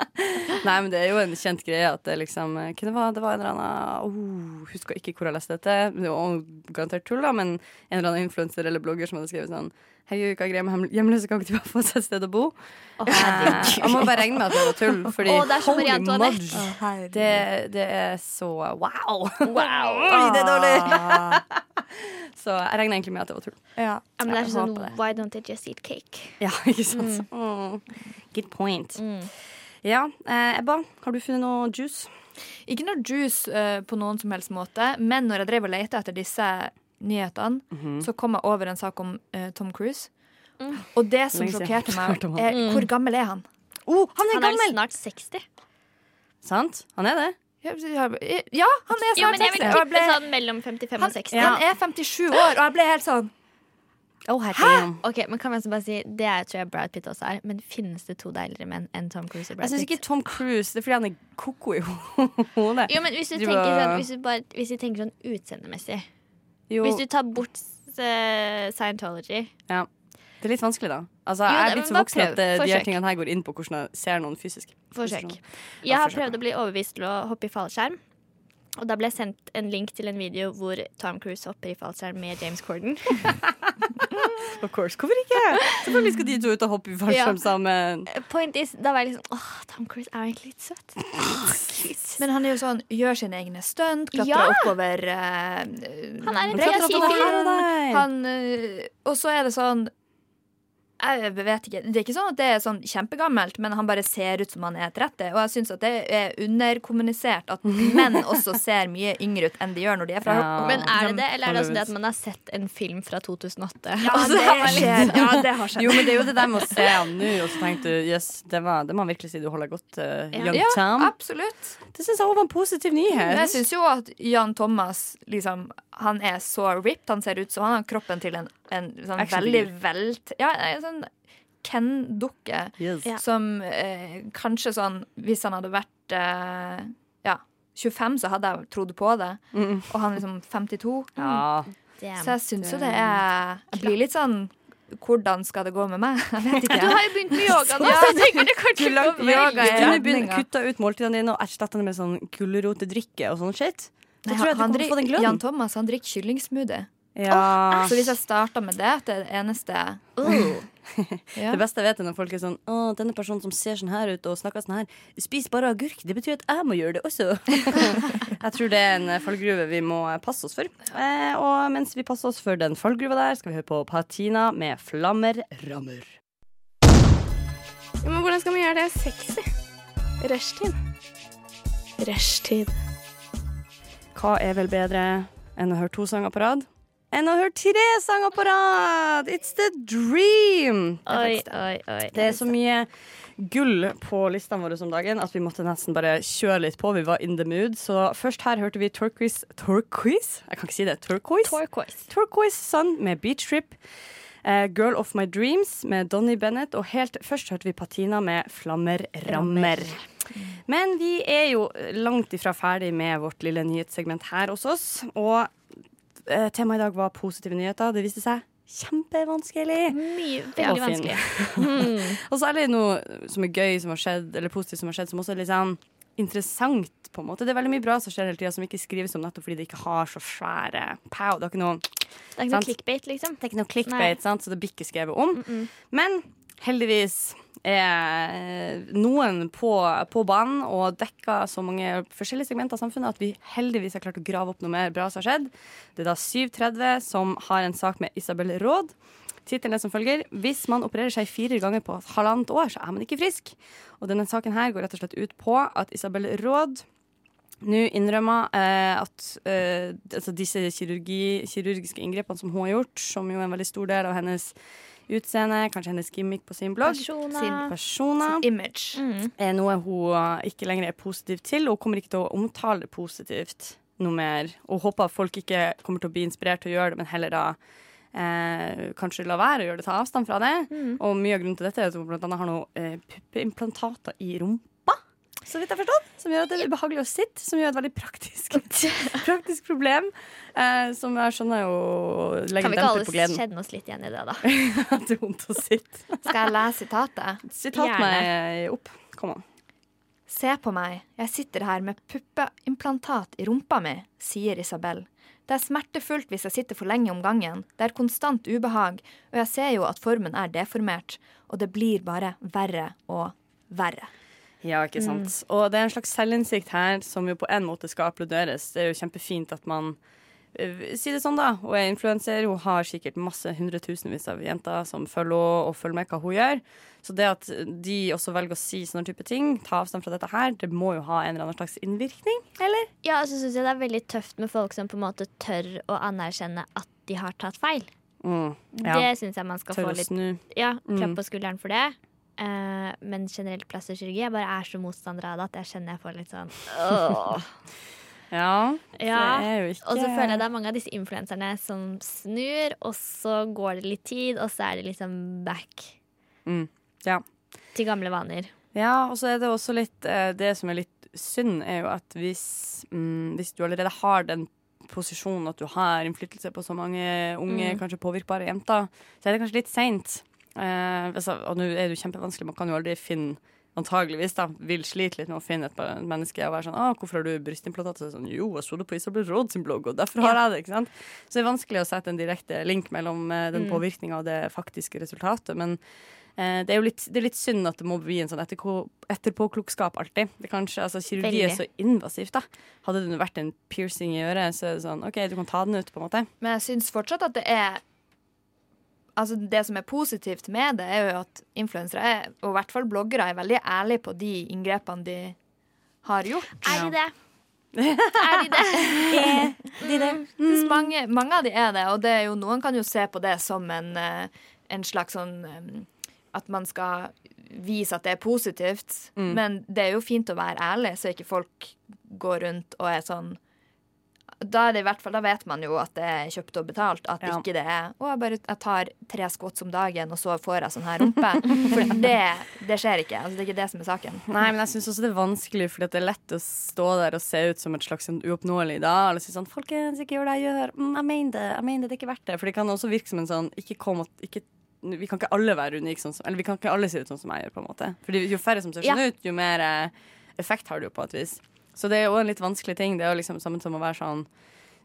D: Nei, men det er jo en kjent greie at det liksom eh, Kunne være, det var en eller annen oh, Husker ikke hvor jeg leste dette, men det var garantert tull, da, men en eller annen influenser eller blogger som hadde skrevet sånn Herregud, hva er greia med hem- hjemløse? Kan ikke de bare få seg et sted å bo?
F: Å,
D: Eh,
F: herregud.
D: Man må bare regne med at det var tull, fordi
F: Å, det er som Marie Antoinette.
D: det, det er så wow!
F: Wow.
D: det er dårlig! Ah. så jeg regner egentlig med at det var tull.
E: Ja,
F: Ja, men det er
E: jeg
F: sånn,
E: håper det.
F: Why don't they just eat cake?
D: Ja, ikke sant? Mm. Good point. Ja, eh, Ebba, har du funnet noe juice?
E: Ikke noe juice eh, på noen som helst måte, men når jeg drev og lette etter disse nyhetene,
D: Mhm.
E: så kom jeg over en sak om eh, Tom Cruise. Og det som
D: Mm. Lenge siden.
E: sjokkerte meg,
D: Hørt om
E: er
D: han. Mm.
E: hvor gammel er han?
D: Oh, han er
F: Han er
D: gammel!
F: vel snart 60.
D: Sant? Han er det.
E: Ja, ja, han er
F: Jo,
E: snart
F: men jeg vil
E: 60. og jeg
F: tippe
E: ble-
F: sånn mellom 55
E: Han,
F: og 60.
E: han er 57 år, og jeg ble helt sånn
D: Hæ?
F: Ok, men kan vi også bare si Det er, tror jeg Brad Pitt også er, men finnes det to deiligere menn enn Tom Cruise og
D: Jeg
F: Brad
D: syns
F: Pitt?
D: ikke Tom Cruise. Det er fordi han er koko i hodet.
F: Jo, men hvis du,
D: Du
F: tenker
D: var-
F: sånn, hvis du, bare, hvis du tenker sånn utseendemessig
D: Jo,
F: Hvis du tar bort eh, Scientology
D: ja. Det er litt vanskelig, da. Altså,
F: Jo,
D: jeg er
F: det-
D: blitt så
F: men bare
D: voksen at
F: prøv.
D: det, de her
F: Forsøk.
D: tingene her går inn på hvordan jeg ser noen fysisk.
F: Forsøk.
D: Hvis du
F: Jeg har
D: forsøk,
F: prøvd
D: ja.
F: å bli overbevist til å hoppe i fallskjerm. Og da ble jeg sendt en link til en video hvor Tom Cruise hopper i fallskjerm med James Corden.
D: Of course, Hvorfor ikke? Selvfølgelig skal de to ut og hoppe i fallskjerm
F: Ja.
D: sammen.
F: Point is, Da var jeg liksom Åh, Tom Cruise er jo egentlig litt søt.
E: Men han er jo sånn, gjør sine egne stunt, klatrer
F: Ja!
E: oppover eh,
F: Han er en
E: klatrer
F: kreativ
E: oppover
F: fyr.
E: her og der. Han, eh, Og så er det sånn Jeg vet ikke. Det er ikke sånn at det er sånn kjempegammelt, men han bare ser ut som han er 30. Og jeg syns at det er underkommunisert at menn også ser mye yngre ut enn de gjør når de er fra
D: Ja.
F: Men er det det, eller er det også
D: Hollywood.
F: det at man har sett en film fra 2008?
E: Ja, det skjer. Ja, det har skjedd.
D: Jo, men det er jo det der med å se han nå, og så tenkte du yes, det, var, det må han virkelig si du holder godt, eh, Young
E: Ja,
D: Tom.
E: absolutt.
D: Det syns jeg også var en positiv
E: Men
D: nyhet.
E: jeg syns jo at Jan Thomas liksom, Han er så ripped. Han ser ut som han har kroppen til en, en sånn veldig
D: Actionfigur.
E: velt Ja, en sånn Ken-dukke.
D: Yes.
F: Ja.
E: Som eh, kanskje sånn Hvis han hadde vært eh, ja, 25, så hadde jeg trodd på det.
D: Mm.
E: Og han er liksom 52.
D: Ja.
E: Mm. Så
F: Damn.
E: jeg syns jo det er Jeg blir litt sånn hvordan skal det gå med meg? Jeg vet
F: Du
E: ikke.
F: har jo begynt med yoga nå,
E: Ja.
F: så jeg tenker det kanskje går
E: langt yoga
F: veldig
E: er-
F: bra.
D: Kunne begynt
E: retninga.
D: kutta ut måltidene dine og erstatta det med sånn gulrotdrikke og sånn shit. Da
E: Nei,
D: tror jeg at du
E: han
D: kommer til å få den
E: drikker- Jan
D: gløden.
E: Thomas han drikker kyllingsmoothie.
D: Ja.
E: Så hvis jeg starta med det, at det er det eneste
F: uh,
E: ja.
D: Det beste jeg vet er når folk er sånn Å, denne personen som ser sånn her ut og snakker sånn her, spiser bare agurk. Det betyr at jeg må gjøre det også. jeg tror det er en eh, fallgruve vi må eh, passe oss for. Eh, og mens vi passer oss for den fallgruva der, skal vi høre på Patina med Flammer rammer.
I: Ja, men hvordan skal man gjøre det sexy? Rushtid. Rushtid.
D: Hva er vel bedre enn å høre to sanger på rad? Enn å høre tre sanger på rad! It's the dream!
F: Oi, oi, oi.
D: Det er så mye gull på listene våre om dagen at vi måtte nesten bare kjøre litt på. Vi var in the mood. Så først her hørte vi Turquoise Turquoise? Jeg kan ikke si det. Turquoise?
F: Turquoise.
D: Turquoise Sun med Beach Trip. Eh, Girl of My Dreams med Donny Bennett. Og helt først hørte vi Patina med Flammer Rammer. Men vi er jo langt ifra ferdig med vårt lille nyhetssegment her hos oss. Og eh, temaet i dag var positive nyheter. Det viste seg kjempevanskelig.
F: Mye, veldig
D: Og fin.
F: vanskelig.
D: Og så er det noe som er gøy som har skjedd, eller positivt som har skjedd, som også er litt sånn interessant, på en måte. Det er veldig mye bra som skjer hele tida, som ikke skrives om nettopp fordi det ikke har så svære pow. Det er ikke noe, det
F: Det er ikke
D: Sant.
F: noe clickbait, liksom.
D: er ikke noe clickbait, sant? så det blir ikke skrevet om. Men heldigvis er noen på, på banen og dekker så mange forskjellige segmenter av samfunnet at vi heldigvis har klart å grave opp noe mer bra som har skjedd. Det er da 730 som har en sak med Isabel Råd. Tittelen er som følger Hvis man opererer seg fire ganger på halvannet år, så er man ikke frisk. Og denne saken her går rett og slett ut på at Isabel Råd nå innrømmer eh, at eh, altså disse kirurgi, kirurgiske inngrepene som hun har gjort, som jo er en veldig stor del av hennes utseende, kanskje hennes gimmick på sin blogg,
F: Persona.
D: personer,
E: Image.
F: Mm.
D: er noe hun eh, ikke lenger er positiv til. Og hun kommer ikke til å omtale det positivt noe mer. Og håper at folk ikke kommer til å bli inspirert til å gjøre det, men heller da eh, kanskje la være å gjøre det, ta avstand fra det.
F: Mm.
D: Og mye av grunnen til dette er at hun blant annet har noen eh, puppeimplantater i rumpa. Så vidt jeg har forstått, Som gjør at det er ubehagelig å sitte, som gjør et veldig praktisk, praktisk problem. Eh, som jeg skjønner jo legger
F: Kan
D: en
F: vi ikke
D: demper på
F: alle
D: gleden.
F: kjenne oss litt igjen i det, da?
D: at det er vondt å sitte.
E: Skal jeg lese sitatet?
D: Sitat
F: Gjerne.
D: meg opp. Kom an.
E: Se på meg, jeg sitter her med puppeimplantat i rumpa mi, sier Isabel. Det er smertefullt hvis jeg sitter for lenge om gangen, det er konstant ubehag, og jeg ser jo at formen er deformert, og det blir bare verre og verre.
D: Ja,
F: Mm.
D: ikke sant. Og det er en slags selvinnsikt her som jo på en måte skal applauderes. Det er jo kjempefint at man eh, Si det sånn, da. Hun er influenser, hun har sikkert masse hundretusenvis av jenter som følger henne og følger med hva hun gjør. Så det at de også velger å si sånne type ting, ta avstand fra dette her, det må jo ha en eller annen slags innvirkning, eller?
F: Ja, og så syns jeg det er veldig tøft med folk som på en måte tør å anerkjenne at de har tatt feil.
D: Mm.
F: Det
D: Ja.
F: syns jeg man skal
D: Tør
F: få
D: å
F: litt
D: snu.
F: ja, klapp
D: Mm.
F: på skulderen for det. Eh, men generelt plastikkirurgi. Jeg bare er så motstander av det at jeg kjenner jeg får litt sånn åh.
D: Ja. Det
F: Ja.
D: er jo ikke
F: Og så føler jeg det er mange av disse influenserne som snur, og så går det litt tid, og så er det liksom back
D: Mm. Ja.
F: til gamle vaner.
D: Ja, og så er det også litt eh, Det som er litt synd, er jo at hvis, mm, hvis du allerede har den posisjonen at du har innflytelse på så mange unge, kanskje påvirkbare jenter, så er det kanskje litt seint. Eh, altså, og nå er det jo kjempevanskelig, man kan jo aldri finne Antageligvis da, vil slite litt med å finne et menneske og være sånn ah, 'Hvorfor har du brystimplantat?' Så er det sånn, jo, jeg så det på Isabel Råd sin blogg, og derfor har jeg det. ikke sant? Så det er vanskelig å sette en direkte link mellom eh, den påvirkninga og det faktiske resultatet. Men Eh, Det er jo litt, det er litt synd at det må bli en sånn etterko- etterpåklokskap alltid. Det er kanskje, altså, kirurgi er
F: Veldig.
D: så invasivt, da. Hadde det nå vært en piercing i øret, så er det sånn OK, du kan ta den ut, på en måte.
E: Men jeg syns fortsatt at det er altså det som er positivt med det, er jo at influensere, er- og i hvert fall bloggere, er veldig ærlige på de inngrepene de har gjort.
F: Er de det? Er de det?
E: Faktisk Mange, mange av de er det, og det er jo, noen kan jo se på det som en, eh, en slags sånn eh, At man skal vise at det er positivt. Men det er jo fint å være ærlig, så ikke folk går rundt og er sånn da er det i hvert fall, da vet man jo at det er kjøpt og betalt. At
D: Ja.
E: ikke det er å, jeg, bare, jeg tar tre squats om dagen, og så får jeg sånn her rumpe. For det, det skjer ikke. Altså, det er ikke det som er saken.
D: Nei, men jeg syns også det er vanskelig, fordi at det er lett å stå der og se ut som et slags sånn uoppnåelig ideal. Og si sånn 'Folkens, ikke gjør det jeg gjør.' Mm, 'Jeg mener det. jeg mener det, det er ikke verdt det.' For det kan også virke som en sånn ikke kom, og- ikke, Vi kan ikke alle være unike sånn som Eller vi kan ikke alle se ut sånn som jeg gjør, på en måte. Fordi jo færre som ser sånn ut, jo mer eh, effekt har du jo på et vis. Så det er jo en litt vanskelig ting. Det er jo liksom sammen som å være sånn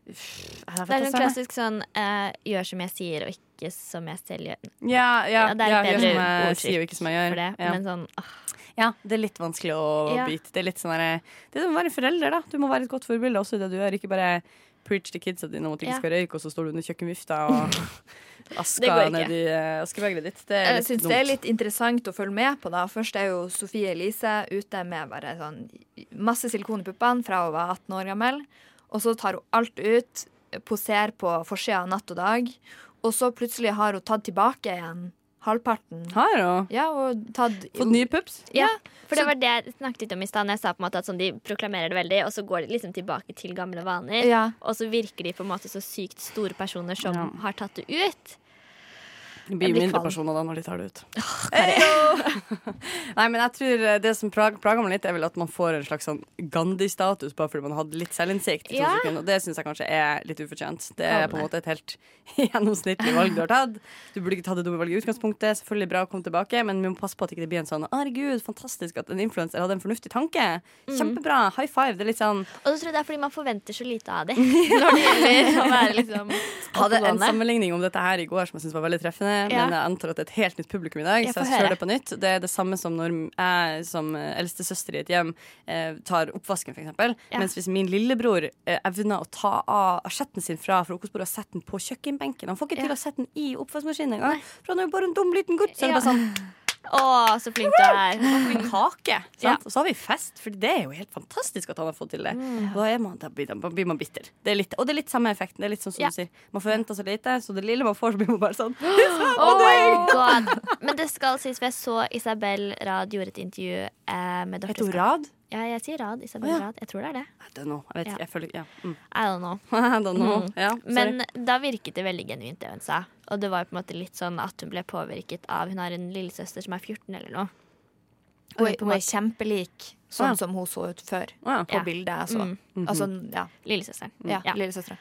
D: jeg vet
F: Det er
D: ikke,
F: sånn
D: Søren.
F: klassisk sånn eh, gjør som jeg sier, og ikke som jeg selv gjør.
D: Ja, ja,
F: Ja,
D: ja,
F: det er et
D: gjør
F: bedre
D: som jeg
F: ordskikk
D: sier, og ikke som jeg gjør.
F: For det.
D: Ja.
F: Men sånn åh,
D: Ja, det er litt vanskelig å
F: Ja.
D: bite. Det er litt sånn der, Det er som å være forelder, da. Du må være et godt forbilde også i det du gjør. Ikke bare preach til kidsa dine om at de
F: Ja.
D: ikke skal røyke, og så står du under kjøkkenvifta og
F: Det
D: aska
F: går ikke.
D: nedi eh, askebeget ditt. Det er
E: Jeg
D: litt
E: syns det er
D: dumt.
E: litt interessant å følge med på. da Først er jo Sofie Elise ute med bare sånn masse silikon i puppene fra hun var 18 år gammel. Og så tar hun alt ut, poserer på forsida natt og dag. Og så plutselig har hun tatt tilbake igjen halvparten.
D: Har hun
E: Ja, og tatt
D: fått nye pups?
F: Ja, for det var det jeg snakket litt om i stad. når Jeg sa på en måte at sånn, de proklamerer det veldig, og så går de liksom tilbake til gamle vaner.
E: Ja.
F: Og så virker de på en måte så sykt store personer som har tatt det ut.
D: Det blir
F: Jeg blir
D: mindre
F: kvalm.
D: personer da når de tar det ut. Nei, men jeg tror eh, Det som plag- plager meg litt, er vel at man får en slags sånn Gandhi-status bare fordi man hadde litt selvinnsikt. i to
F: Ja.
D: sekunder, Og det syns jeg kanskje er litt ufortjent. Det er på en måte et helt gjennomsnittlig valg du har tatt. Du burde ikke tatt det dumme valget i utgangspunktet. Selvfølgelig bra å komme tilbake, men vi må passe på at det ikke blir en sånn Herregud, fantastisk at en influenser hadde en fornuftig tanke. Kjempebra. High five. Det er litt sånn
F: Og så tror jeg det er fordi man forventer så lite av dem. Når det gjelder å være liksom
D: hadde en
F: oppegående.
D: sammenligning om dette her i går som jeg synes var veldig treffende.
F: Ja.
D: Men jeg antar at det er et helt nytt publikum i dag.
F: Jeg
D: så
F: får
D: jeg
F: høre.
D: kjører det på nytt. Det er det samme som når jeg som eh, eldste søster i et hjem eh, tar oppvasken, f.eks. eksempel Mens hvis min lillebror eh, evner å ta av asjetten sin fra frokostbordet og sette den på kjøkkenbenken Han får ikke til å sette den i oppvaskmaskinen engang, for han er jo bare en dum liten gutt. Så er det bare sånn
F: Å, så flink du er.
D: en kake. Sant? Og så har vi fest, for det er jo helt fantastisk at han har fått til det.
F: Mm.
D: Og Da, er man, da, blir, da blir man bitter. Det er litt, og det er litt samme effekten. Det er litt sånn som
F: Ja.
D: du sier. Man forventer så lite, så det lille man får, så blir man bare sånn.
F: Oh my god. Men det skal sies, for jeg så Isabel Rad gjorde et intervju eh, med
D: Heter hun
F: doktorskap.
D: Rad?
F: Ja, jeg sier Rad. Isabel
D: Å, ja.
F: Rad. Jeg tror det er det.
D: I don't know. Jeg vet
F: Ja.
D: ikke. Jeg føler ja. mm.
F: I don't know.
D: I don't know. Ja, sorry.
F: Men da virket det veldig genuint, det hun sa. Og det var på en måte litt sånn at hun ble påvirket av Hun har en lillesøster som er 14 eller noe.
E: Hun
F: Og
E: er, hun er kjempelik
D: Ja.
E: sånn som hun så ut før
D: Å, ja. Mm. Mhm.
E: på
F: Ja.
E: bildet. jeg så. Altså, ja,
F: Lillesøsteren.
E: ja,
F: Ja.
E: lillesøstera.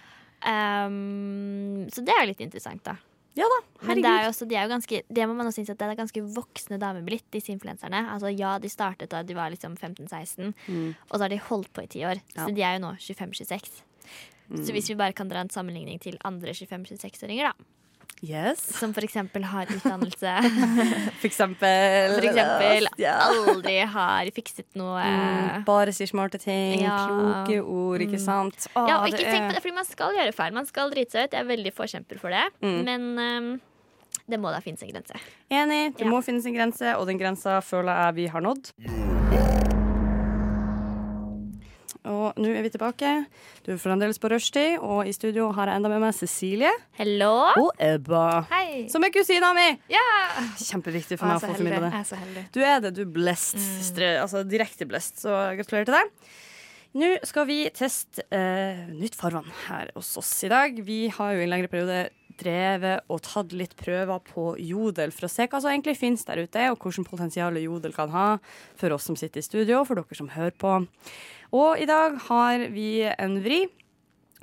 F: Um, så det er jo litt interessant, da.
D: ja da.
F: Men
D: Herregud.
F: det, er jo også, de er jo ganske, det må man også synes at det er ganske voksne damer blitt, disse influenserne. Altså Ja, de startet da de var liksom 15-16,
D: Mm.
F: og så har de holdt på i ti år. Så de er jo nå 25-26. Så hvis vi bare kan dra en sammenligning til andre 25-26-åringer, da.
D: Yes.
F: Som for eksempel har utdannelse.
D: For eksempel.
F: For eksempel
D: Ja. Mm.
F: aldri har fikset noe. eh,
D: Bare sier smarte ting.
F: Ja. Mm.
D: Kloke ord, ikke sant? Å,
F: Ja, og ikke
D: det
F: tenk på
D: er-
F: det, fordi man skal gjøre feil. Man skal drite seg ut. Jeg er veldig forkjemper for det.
D: Mm.
F: Men um, det må da finnes en grense.
D: Enig. Det
F: Ja.
D: må finnes en grense, og den grensa føler jeg vi har nådd. Og nå er vi tilbake. Du er fremdeles på rushtid, og i studio har jeg enda med meg Cecilie
F: Hello!
D: og Ebba.
E: Hei!
D: Som er kusina mi! Kjempeviktig for meg
E: Jeg er
D: å
E: så
D: få
E: heldig.
D: formidla det.
E: Jeg er så heldig.
D: Du er det. Du er blest. Stre, altså direkte blest. Så gratulerer til deg. Nå skal vi teste eh, nytt farvann her hos oss i dag. Vi har jo i en lengre periode drevet og tatt litt prøver på Jodel for å se hva som egentlig finnes der ute, og hvilket potensial Jodel kan ha for oss som sitter i studio, og for dere som hører på. Og i dag har vi en vri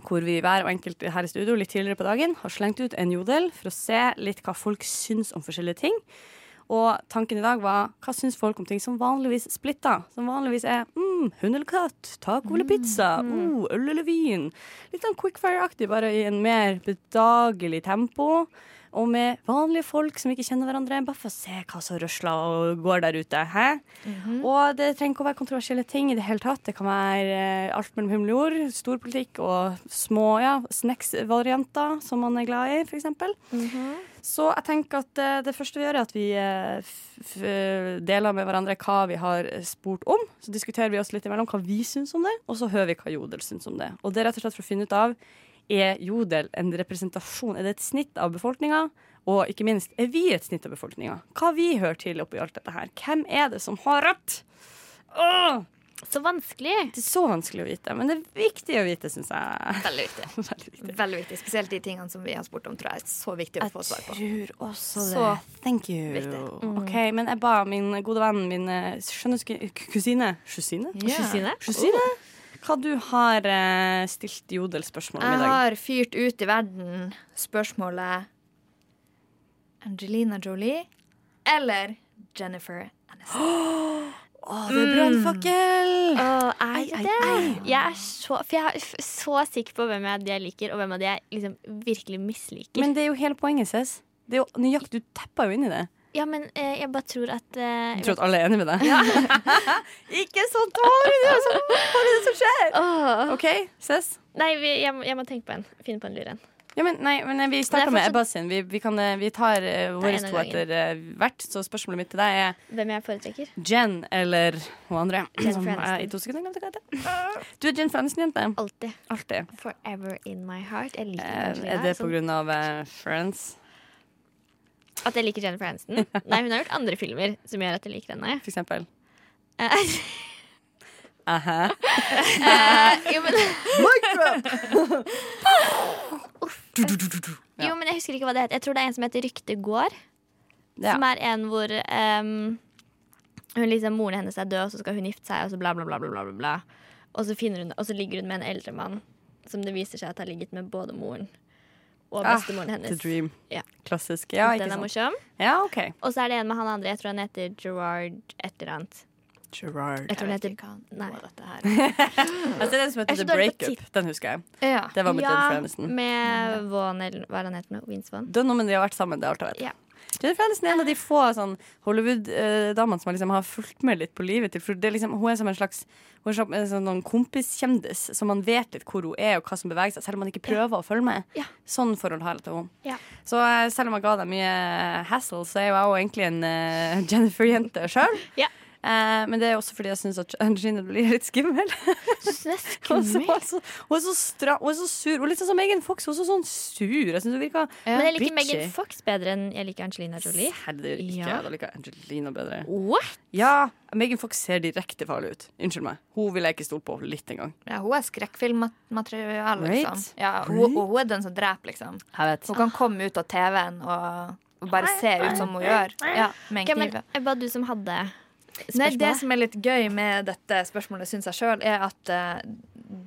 D: hvor vi hver og enkelt her i studio litt tidligere på dagen har slengt ut en jodel for å se litt hva folk syns om forskjellige ting. Og tanken i dag var hva syns folk om ting som vanligvis splitter? Som vanligvis er mm, mm, hund eller katt, taco eller pizza, oh, øl eller vin. Litt sånn quickfire-aktig, bare i en mer bedagelig tempo. Og med vanlige folk som ikke kjenner hverandre, bare for å se hva som røsler og går der ute. Hæ? Og det trenger ikke å være kontroversielle ting i det hele tatt. Det kan være eh, alt mellom himmel og jord, storpolitikk og små ja, snacks-varianter som man er glad i, f.eks. Så jeg tenker at eh, det første vi gjør, er at vi eh, f- f- deler med hverandre hva vi har eh, spurt om. Så diskuterer vi oss litt imellom hva vi syns om det, og så hører vi hva Jodel syns om det. Og det er rett og slett for å finne ut av er Jodel en representasjon, er det et snitt av befolkninga? Og ikke minst, er vi et snitt av befolkninga? Hva vi hører til oppi alt dette her? Hvem er det som har rødt? Åh,
F: Så vanskelig.
D: det er så vanskelig å vite, men det er viktig å vite, syns jeg.
E: Veldig viktig.
D: Veldig viktig.
E: Veldig viktig. Spesielt de tingene som vi har spurt om, tror jeg er så viktig å få svar på.
D: Jeg tror også det.
E: Så
D: Thank you.
E: viktig.
D: Ok, Men jeg ba min gode venn, min eh, skjønne sku- k- kusine Kusine?
F: Kusine?
D: Kusine? Hva du har eh, stilt Jodel spørsmål om i
E: Jeg
D: dag?
E: har fyrt ut i verden spørsmålet Angelina Jolie eller Jennifer Aniston.
D: Å, det er brannfakkel!
F: Åh, er det det? Jeg er så, for jeg er f- så sikker på hvem av de jeg liker, og hvem av de jeg liksom virkelig misliker.
D: Men det er jo hele poenget, Cess. Det er jo nøyaktig, Du tepper jo inn i det.
F: ja, men eh, jeg bare tror at eh,
D: Jeg tror at alle er enig med deg. ikke sånn tårer! Det er sånn, Hva er det som skjer?
F: åh.
D: OK, Cess.
F: Nei, vi, jeg, må- jeg må tenke på en. Finne på en lur en.
D: Ja, men, nei, men eh, vi starter
F: Nei,
D: med
F: fortsatt-
D: Ebba sin. Vi, vi, kan, eh, vi tar uh, våre
F: en av
D: to
F: gangen.
D: etter eh, hvert. Så spørsmålet mitt til deg er
F: Hvem jeg foretrekker.
D: Jen eller hun andre. Som
F: Jennifer
D: er i to sekunder glemte hva heter. Du er Jen Aniston-jente.
F: Alltid.
D: Alltid.
F: Forever in my heart. Jeg liker
D: Eh,
F: Angelina,
D: er det på
F: sånn-
D: grunn av eh, Friends,
F: At jeg liker Jennifer Aniston? Nei, hun har gjort andre filmer som gjør at jeg liker henne.
D: for eksempel?
F: Eh,
D: Aha.
F: eh, jo, men Uff. Jo, men jeg husker ikke hva det het. Jeg tror det er en som heter Rykte går.
D: Ja.
F: Som er en hvor ehm, hun liksom, moren hennes er død, og så skal hun gifte seg, og så bla, bla, bla. bla, bla, bla, bla. Og, så finner hun, og så ligger hun med en eldre mann som det viser seg at har ligget med både moren og
D: Ah,
F: bestemoren
D: The
F: hennes.
D: Dream.
F: Ja.
D: Klassisk. Ja,
F: Den
D: ikke
F: er
D: sant.
F: morsom.
D: Ja, OK.
F: Og så er det en med han andre. Jeg tror han heter Gerard et eller annet.
D: Gerard.
F: Jeg tror han heter Nei.
D: Altså, det er den som
F: Jeg er
D: heter
F: så
D: The
F: dårlig på
D: Breakup. Den husker jeg.
E: Ja.
D: Det var med Jennifer
F: Ja,
D: Aniston.
F: med Vaughn eller hva er han heter nå? Vince Vaughn.
D: Det er noe med de har vært sammen, det er alt jeg vet.
F: Ja.
D: Jennifer Aniston er en av de få sånn, Hollywood-damene som har, liksom, har fulgt med litt på livet til. For det er liksom, hun er som en slags Hun er som en sånn noen kompiskjendis, så man vet litt hvor hun er og hva som beveger seg, selv om man ikke prøver å følge med.
F: Ja.
D: Sånn forhold har jeg til henne.
F: Ja.
D: Så eh, selv om jeg ga deg mye eh, hassle, så er jo jeg jo egentlig en eh, Jennifer-jente sjøl.
F: Ja.
D: Eh, men det er også fordi jeg syns at Angelina blir litt skummel. Hun er så- hun er så- hun er så stra- hun er så sur. Hun er litt sånn som Megan Fox. Hun er så sånn sur. Jeg syns hun virker
F: Men jeg liker
D: bitchy.
F: Megan Fox bedre enn jeg liker Angelina Jolie.
D: Herre, det gjør ikke
F: Ja.
D: jeg. Da liker jeg Angelina bedre.
F: What?
D: Ja, Megan Fox ser direkte farlig ut. Unnskyld meg. Hun vil jeg ikke stole på litt engang.
E: Ja, hun er skrekkfilmmateriale, liksom.
D: Right.
E: Ja, hun, og hun er den som dreper, liksom.
D: Jeg vet.
E: Hun kan komme ut av TV-en og, og bare se ut som hun gjør. Ja, med
F: Okay,
E: en
F: men
E: kniv.
F: Ebba, du som hadde
E: Nei, det
F: spørsmålet.
E: som er litt gøy med dette spørsmålet, syns jeg sjøl, er at eh,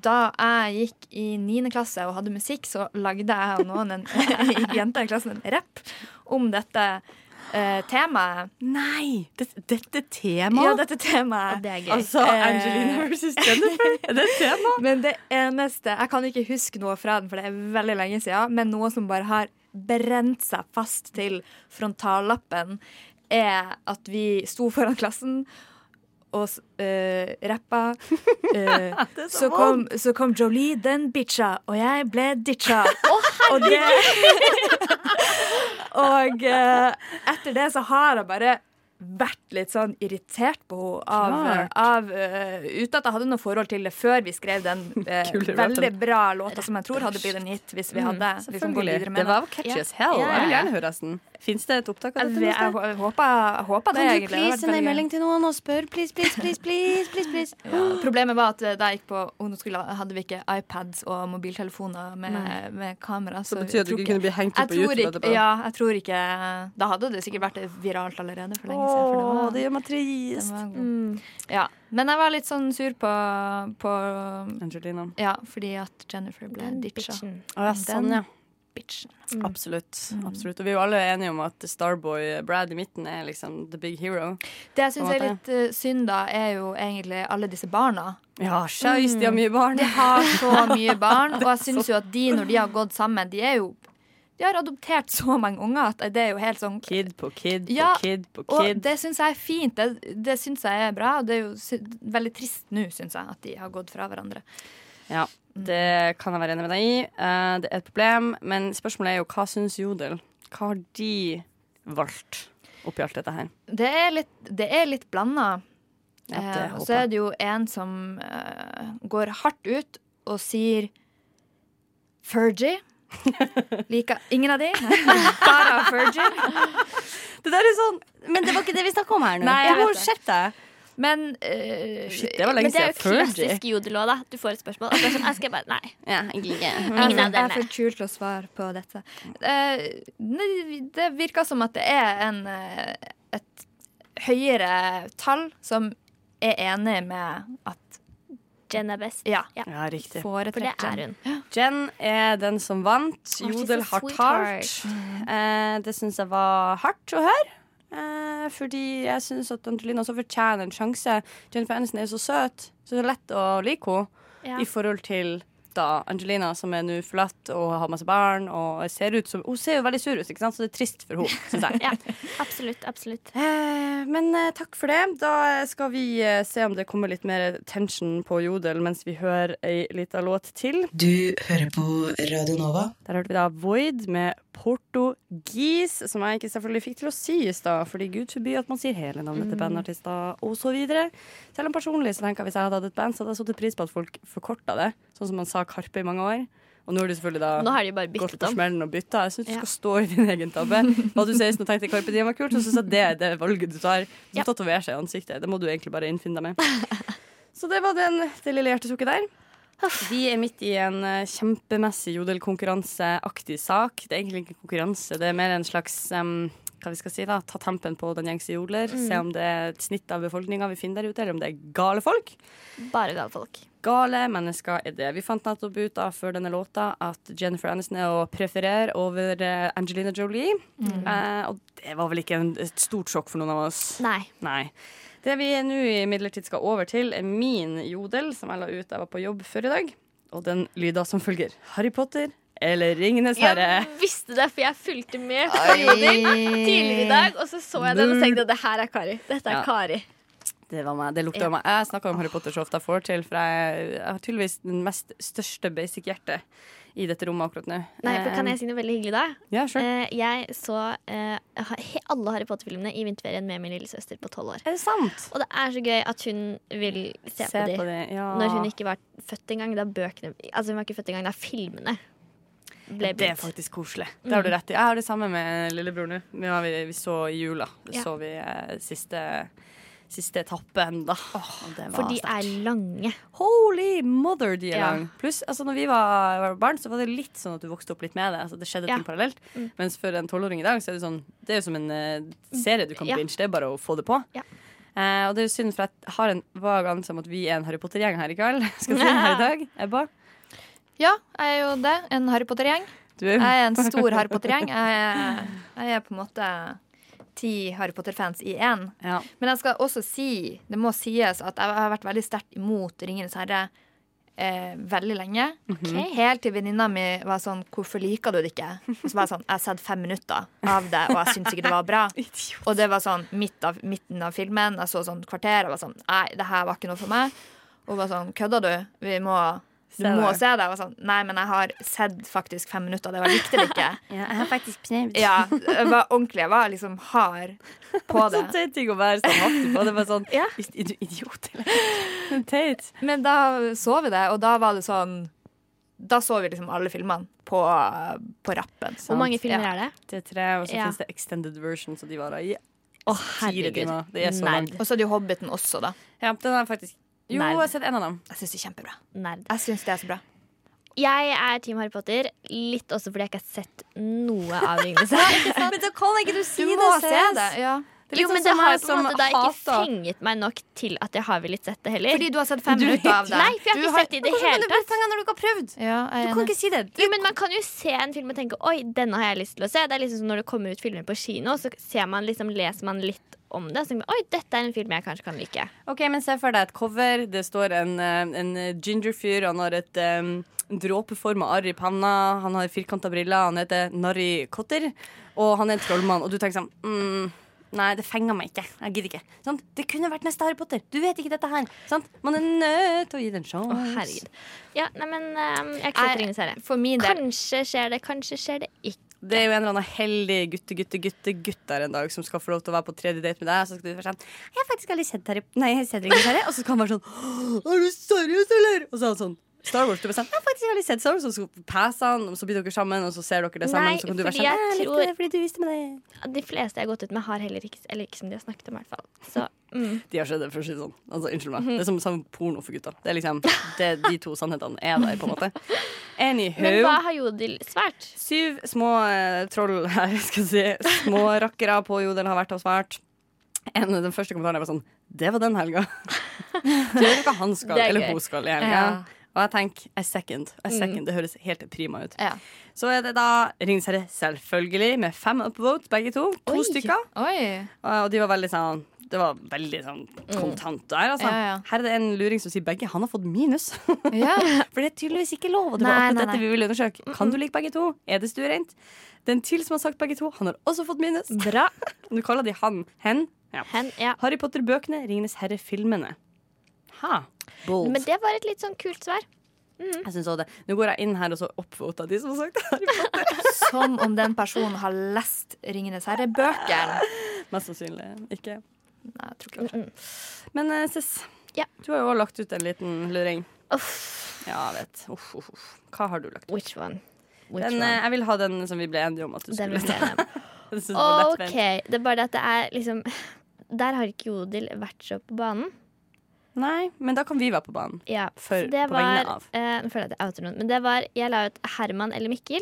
E: da jeg gikk i niende klasse og hadde musikk, så lagde jeg og noen en, jenter i klassen en rapp om dette eh, temaet.
D: Nei! Dette, dette
E: Ja,
D: temaet?
E: dette temaet.
F: det er gøy.
D: altså,
E: eh,
D: Angelina versus Jennifer. Er det et tema?
E: Men det eneste Jeg kan ikke huske noe fra den, for det er veldig lenge siden. Men noe som bare har brent seg fast til frontallappen, er at vi sto foran klassen og s- eh, rappa. eh, så, kom, så kom Jolie, den bitcha, og jeg ble ditcha. og det Og eh, etter det så har jeg bare vært litt sånn irritert på henne av,
D: Klart.
E: av eh, Uten at jeg hadde noe forhold til det før vi skrev den eh,
D: Kule rappen.
E: veldig bra låta som jeg tror hadde blitt en hit hvis vi hadde liksom, gått videre
D: Mm, Det
E: med den.
D: var catchy as hell.
F: Ja, ja,
D: Jeg vil
F: ja.
D: gjerne høre resten. Fins det et opptak av
E: Jeg,
D: dette?
E: jeg,
D: noe sted?
E: hå- håper, jeg
D: sånn Kan
E: håper det,
D: du
E: egentlig. Det hadde
D: please
E: vært
D: sende en
E: veldig gøy.
D: melding til noen og spør? Please, please, please, please, please, please.
E: Ja, problemet var at eh, da jeg gikk på ungdomsskolen, hadde vi ikke iPads og mobiltelefoner med, med kamera. Så, jeg tror ikke-
D: bli hengt
E: jeg tror ikke, ja, jeg tror ikke Da hadde det sikkert vært viralt allerede for lenge siden. For det
D: Å,
E: var,
D: det gjør meg
E: den
D: trist.
E: var god. Ja. Men jeg var litt sånn sur på, på
D: Angelina.
E: Ja, fordi at Jennifer ble ditcha.
F: Bitchen.
D: Å ja, sånn, ja.
E: bitchen.
D: Absolutt. absolutt. Og vi er jo alle enige om at Starboy Brad i midten er liksom the big hero.
E: Det jeg syns
D: På en
E: er litt eh, synd, da, er jo egentlig alle disse barna.
D: Ja, Mm. skeis, de har mye barn.
E: De har så mye barn, og jeg syns jo at de, når de har gått sammen, de er jo De har adoptert så mange unger at det er jo helt sånn
D: Kid på kid på
E: Ja,
D: kid på
E: Og
D: kid.
E: det syns jeg er fint. Det, det syns jeg er bra. Og det er jo sy veldig trist nå, syns jeg, at de har gått fra hverandre.
D: Ja, det kan jeg være enig med deg i. Eh, det er et problem, men spørsmålet er jo hva syns Jodel? Hva har de valgt oppi alt dette her?
E: Det er litt, det er litt blanda.
D: Ja, det
E: Eh, og så
D: håper jeg.
E: er det jo en som eh, går hardt ut og sier Fergie. Liker ingen av de. Bare Fergie.
D: Det der er sånn Men det var ikke det vi snakka om her nå.
E: Nei, jeg
D: Du må
E: vet det.
D: skjerpe deg.
E: Men eh,
D: Shit, det var
F: Men
D: lenge
F: det er
D: siden.
F: jo
D: Fergie.
F: klassisk jodel òg, da. Du får et spørsmål, og så er det sånn Jeg skal bare Nei.
D: Ja, jeg liker det.
E: Jeg
F: Ingen av
E: er- jeg
F: dem
E: er
F: Mm. er.
E: for kul til å svare på dette. Eh, nei, det virker som at det er en, eh, et høyere tall som er enig med at
F: Jen er best.
E: ja,
F: Ja.
D: Ja, riktig.
F: For det er
E: foretrekker
F: hun.
D: Jen er den som vant.
F: she's
D: Jodel
F: a
D: har
F: sweetheart. Mm.
D: talt. Eh, det syns jeg var hardt å høre. Eh, fordi jeg syns at Angelina også fortjener en sjanse. Jennifer Aniston er jo så søt, så det er lett å like henne.
F: Ja.
D: I forhold til da Angelina, som er nå forlatt og har masse barn. Og ser ut som, hun ser jo veldig sur ut, ikke sant? så det er trist for henne, syns jeg.
F: Ja, absolutt. Absolutt.
D: Eh, Men eh, takk for det. Da skal vi eh, se om det kommer litt mer tension på Jodel mens vi hører ei lita låt til.
J: Du hører på Radio Nova.
D: Der hørte vi da Void med portugis, som jeg ikke selvfølgelig fikk til å si i stad, fordi gud forby at man sier hele navnet til
F: Mm.
D: bandartister og så videre. Selv om personlig så tenker jeg at hvis jeg hadde hatt et band, så hadde jeg satt pris på at folk forkorta det, sånn som man sa Karpe i mange år. Og nå er det selvfølgelig da
F: Nå har de bare
D: gått
F: byttet
D: på
F: om.
D: smellen og bytta. Jeg syns du
F: Ja.
D: skal stå i din egen tabbe. Hva du sier nå tenkte jeg Carpe Diem var kult, så syns jeg det er det valget du tar. Som
F: Ja.
D: tatoverer seg i ansiktet. Det må du egentlig bare innfinne deg med. Så det var den, det lille hjertesukket der. Vi er midt i en eh, kjempemessig jodelkonkurranseaktig sak. Det er egentlig ikke en konkurranse, det er mer en slags em, hva vi skal si da, Ta tempen på den gjengse jodler.
F: Mm.
D: Se om det er et snitt av befolkninga vi finner der ute, eller om det er gale folk.
F: Bare gale folk.
D: Gale mennesker er det. Vi fant nettopp ut da, før denne låta at Jennifer Aniston er å preferere over eh, Angelina Jolie. Eh, og det var vel ikke en, et stort sjokk for noen av oss.
F: Mm. Nei.
D: Nei. Det vi nå imidlertid skal over til, er min jodel, som jeg la ut da jeg var på jobb før i dag. Og den lyda som følger Harry Potter eller Ringenes herre.
F: Jeg visste det, for jeg fulgte med på Jodel tidligere i dag. Og så så jeg den og tenkte at det her er Kari. Dette er
D: Ja.
F: Kari.
D: Det var meg. Det lukta av meg. Jeg snakker om Harry Potter så ofte jeg får til, for jeg, jeg har tydeligvis den mest største basic-hjertet i dette rommet akkurat nå. Eh,
F: Nei, for Kan jeg si noe veldig hyggelig da?
D: Ja, sure.
F: Eh, Jeg så eh, ha- he- alle Harry Potter-filmene i vinterferien med min lillesøster på tolv år.
D: Er det sant?
F: Og det er så gøy at hun vil se, på de.
D: det, ja.
F: Når hun ikke var født engang, da bøkene Altså hun var ikke født engang, da filmene ble Mm.
D: Det er
F: begynt.
D: faktisk koselig. Det har du rett i. Jeg har det samme med lillebror nå. Vi, har- vi, vi så i jula.
F: Ja.
D: Så vi eh, siste, siste etappen, da. Og det var
F: For de er
D: sterkt.
F: lange.
D: Holy mother, de er
F: Ja.
D: lang. Pluss, altså, når vi var, var barn, så var det litt sånn at du vokste opp litt med det. Altså, det skjedde
F: Ja. Mm.
D: ting parallelt. Mens for en tolvåring i dag, så er det sånn Det er jo som en eh, serie du kan
F: Ja.
D: binge. Det er bare å få det på.
F: Ja.
D: Eh, og det er jo synd, for jeg har en vag anelse om at vi er en Harry Potter-gjeng her i kveld. Skal vi si her i dag? Ebba?
E: Ja, jeg er jo det. En Harry Potter-gjeng.
D: Du er
E: Jeg er en stor Harry Potter-gjeng. Jeg, er- jeg er på en måte ti Harry Potter-fans i én.
D: ja.
E: Men jeg skal også si, det må sies, at jeg har vært veldig sterkt imot Ringenes herre eh, veldig lenge. Mhm. Helt til venninna mi var sånn 'Hvorfor liker du det ikke?' Og så var jeg sånn 'Jeg har sett fem minutter av det, og jeg syns ikke det var bra'. Og det var sånn midt av, midten av filmen. Jeg så sånn kvarter og var sånn 'Nei, det her var ikke noe for meg'. Og hun var sånn 'Kødder du? Vi må du
D: Se
E: må
D: det.»
E: se det. Jeg var sånn, Nei, men jeg har sett faktisk fem minutter, og det var likte det ikke.
D: Jeg har faktisk prøvd.
E: Ja, jeg var ordentlig. Jeg var liksom hard
D: Så
E: på det.
D: teit ting å være sånn hattig på. Det var sånn
E: Ja.
D: Er du idiot, eller? Teit.
E: Men da så vi det, og da var det sånn Da så vi liksom alle filmene på, på rappen.
F: Hvor mange
D: Sant.
F: filmer
E: Ja.
F: er det?
D: til tre, og så
F: Ja.
D: finnes det extended version, så de varer i
F: Å,
D: fire
F: herregud.
D: timer. Det er så
F: Nerd.
D: langt.
E: Og så er det jo Hobbiten også, da.
D: Ja, den har jeg faktisk Jo,
F: Nerd.
D: jeg har sett en av dem.
E: Jeg syns det er kjempebra.
F: Nerd.
E: Jeg synes det er så bra.
F: Jeg er Team Harry Potter, litt også fordi jeg ikke har sett noe av Ringnes.
D: Men da kan ikke du
E: Du må se det. Ja. Det er
F: jo,
D: sånn
E: liksom
F: men det
E: som
F: har
E: jeg
F: på en
E: som
F: måte da ikke
E: hater-
F: fenget meg nok til at jeg har villet sett det heller.
E: Fordi du har sett fem
F: Du-
E: minutter av det.
F: Nei, for jeg har
E: Du
F: ikke sett det i det
E: Hvordan kan
F: hele
E: du bli
F: tatt.
E: fanga når du ikke har prøvd?
I: jeg er
E: du kan
I: enig.
E: ikke si det. Du,
F: Jo, men Man kan jo se en film og tenke Oi, denne har jeg lyst til å se. Det er liksom som Når det kommer ut filmer på kino, så ser man liksom, leser man litt om det. Og så tenker man, Oi, dette er en film jeg kanskje kan like.
D: Ok, men Se for deg et cover. Det står en, eh, en ginger-fyr. Han har et um, dråpeforma arr i panna. Han har firkanta briller. Han heter Narry Cotter. Og han er en trollmann. Og du tenker sånn mm, Nei, det fenger meg ikke. Jeg gidder ikke. Sant? Det kunne vært neste Harry Potter. Du vet ikke dette her. Sant? Man er nødt til å gi det en sjanse.
F: herregud. Ja, nei, men ehm, jeg har ikke
E: Nei,
F: sett Ringenes herre.
E: For min del
F: Kanskje skjer det, kanskje skjer det ikke.
D: Det er jo en eller annen heldig gutte, gutte, gutte, gutt der en dag som skal få lov til å være på tredje date med deg. Så skal du være sånn Jeg har faktisk aldri sett Harry Nei, jeg har sett Ringenes herre. Og så skal han være sånn Er du seriøs, eller? Og så er han sånn Star Wars. Du bare sånn Jeg har faktisk aldri sett Star Wars. Og så passer han, og så blir dere sammen, og så ser dere det sammen.
F: Nei,
D: så kan du være
F: fordi
D: sånn
F: jeg
D: «Jeg likte
F: tror-
D: det fordi du viste meg det.
F: De fleste jeg har gått ut med, har heller ikke Eller ikke som de har snakket om, i hvert fall. Så mm.
D: De har sett det, for å si det sånn. Altså, unnskyld meg. Det er som samme porno for gutta. Det er liksom det, De to sannhetene er der, på en måte.
F: Men
D: Anywho.
F: hva har Jodel svært?
D: Syv små eh, troll her, skal jeg si. Små rakkere på jodel har vært og svart. En, den første kommentaren var sånn Det var den helga. Du vet hva han skal,
F: Det er
D: eller
F: gøy. Mm.
D: hun skal i helga.
E: Ja.
D: Og jeg tenker I second. I second. Det høres helt prima ut.
E: Ja.
D: Så er det da Ringenes herre, selvfølgelig, med fem upvote, begge to. To
F: Oi.
D: stykker.
E: Oi.
D: Og de var veldig sånn det var veldig sånn kontant der, altså.
E: Mm. Ja, ja.
D: Her er det en luring som sier begge. Han har fått minus.
E: Ja.
D: For det er tydeligvis ikke lov. Og det
E: Nei,
D: var akkurat
E: nei,
D: dette
E: nei.
D: vi ville undersøke. Kan du like begge to? Er det stuereint? Den til som har sagt begge to, han har også fått minus.
F: Bra.
D: Nå kaller de han hen. Ja.
F: Hen, ja.
D: Harry Potter-bøkene, Ringenes herre-filmene. Ha. Bold.
F: Men det var et litt sånn kult svar.
D: Jeg synes også det. Nå går jeg inn her og så oppvoter de som har sagt Harry Potter.
E: Som om den personen har lest 'Ringenes herre'-bøkene.
D: Mest sannsynlig ikke.
E: Nei, jeg tror ikke det.
D: Men eh, Sis,
F: Ja.
D: du har jo også lagt ut en liten luring.
F: Uff.
D: Ja, jeg vet. Uff, uff, uff. Hva har du lagt ut?
F: Which one? Which
D: Den, eh,
F: one?
D: jeg vil ha den som vi ble enige om at du
F: Den
D: skulle ta.
F: ble
D: Jeg synes det var lett
F: OK.
D: feil.
F: Det er bare det at det er liksom Der har ikke Jodel vært så på banen.
D: Nei, men da kan vi være på banen.
F: Ja,
D: For-
F: så det
D: på vegne
F: var,
D: av.
F: eh, Nå føler jeg at jeg outer noen. Men det var Jeg la ut Herman eller Mikkel.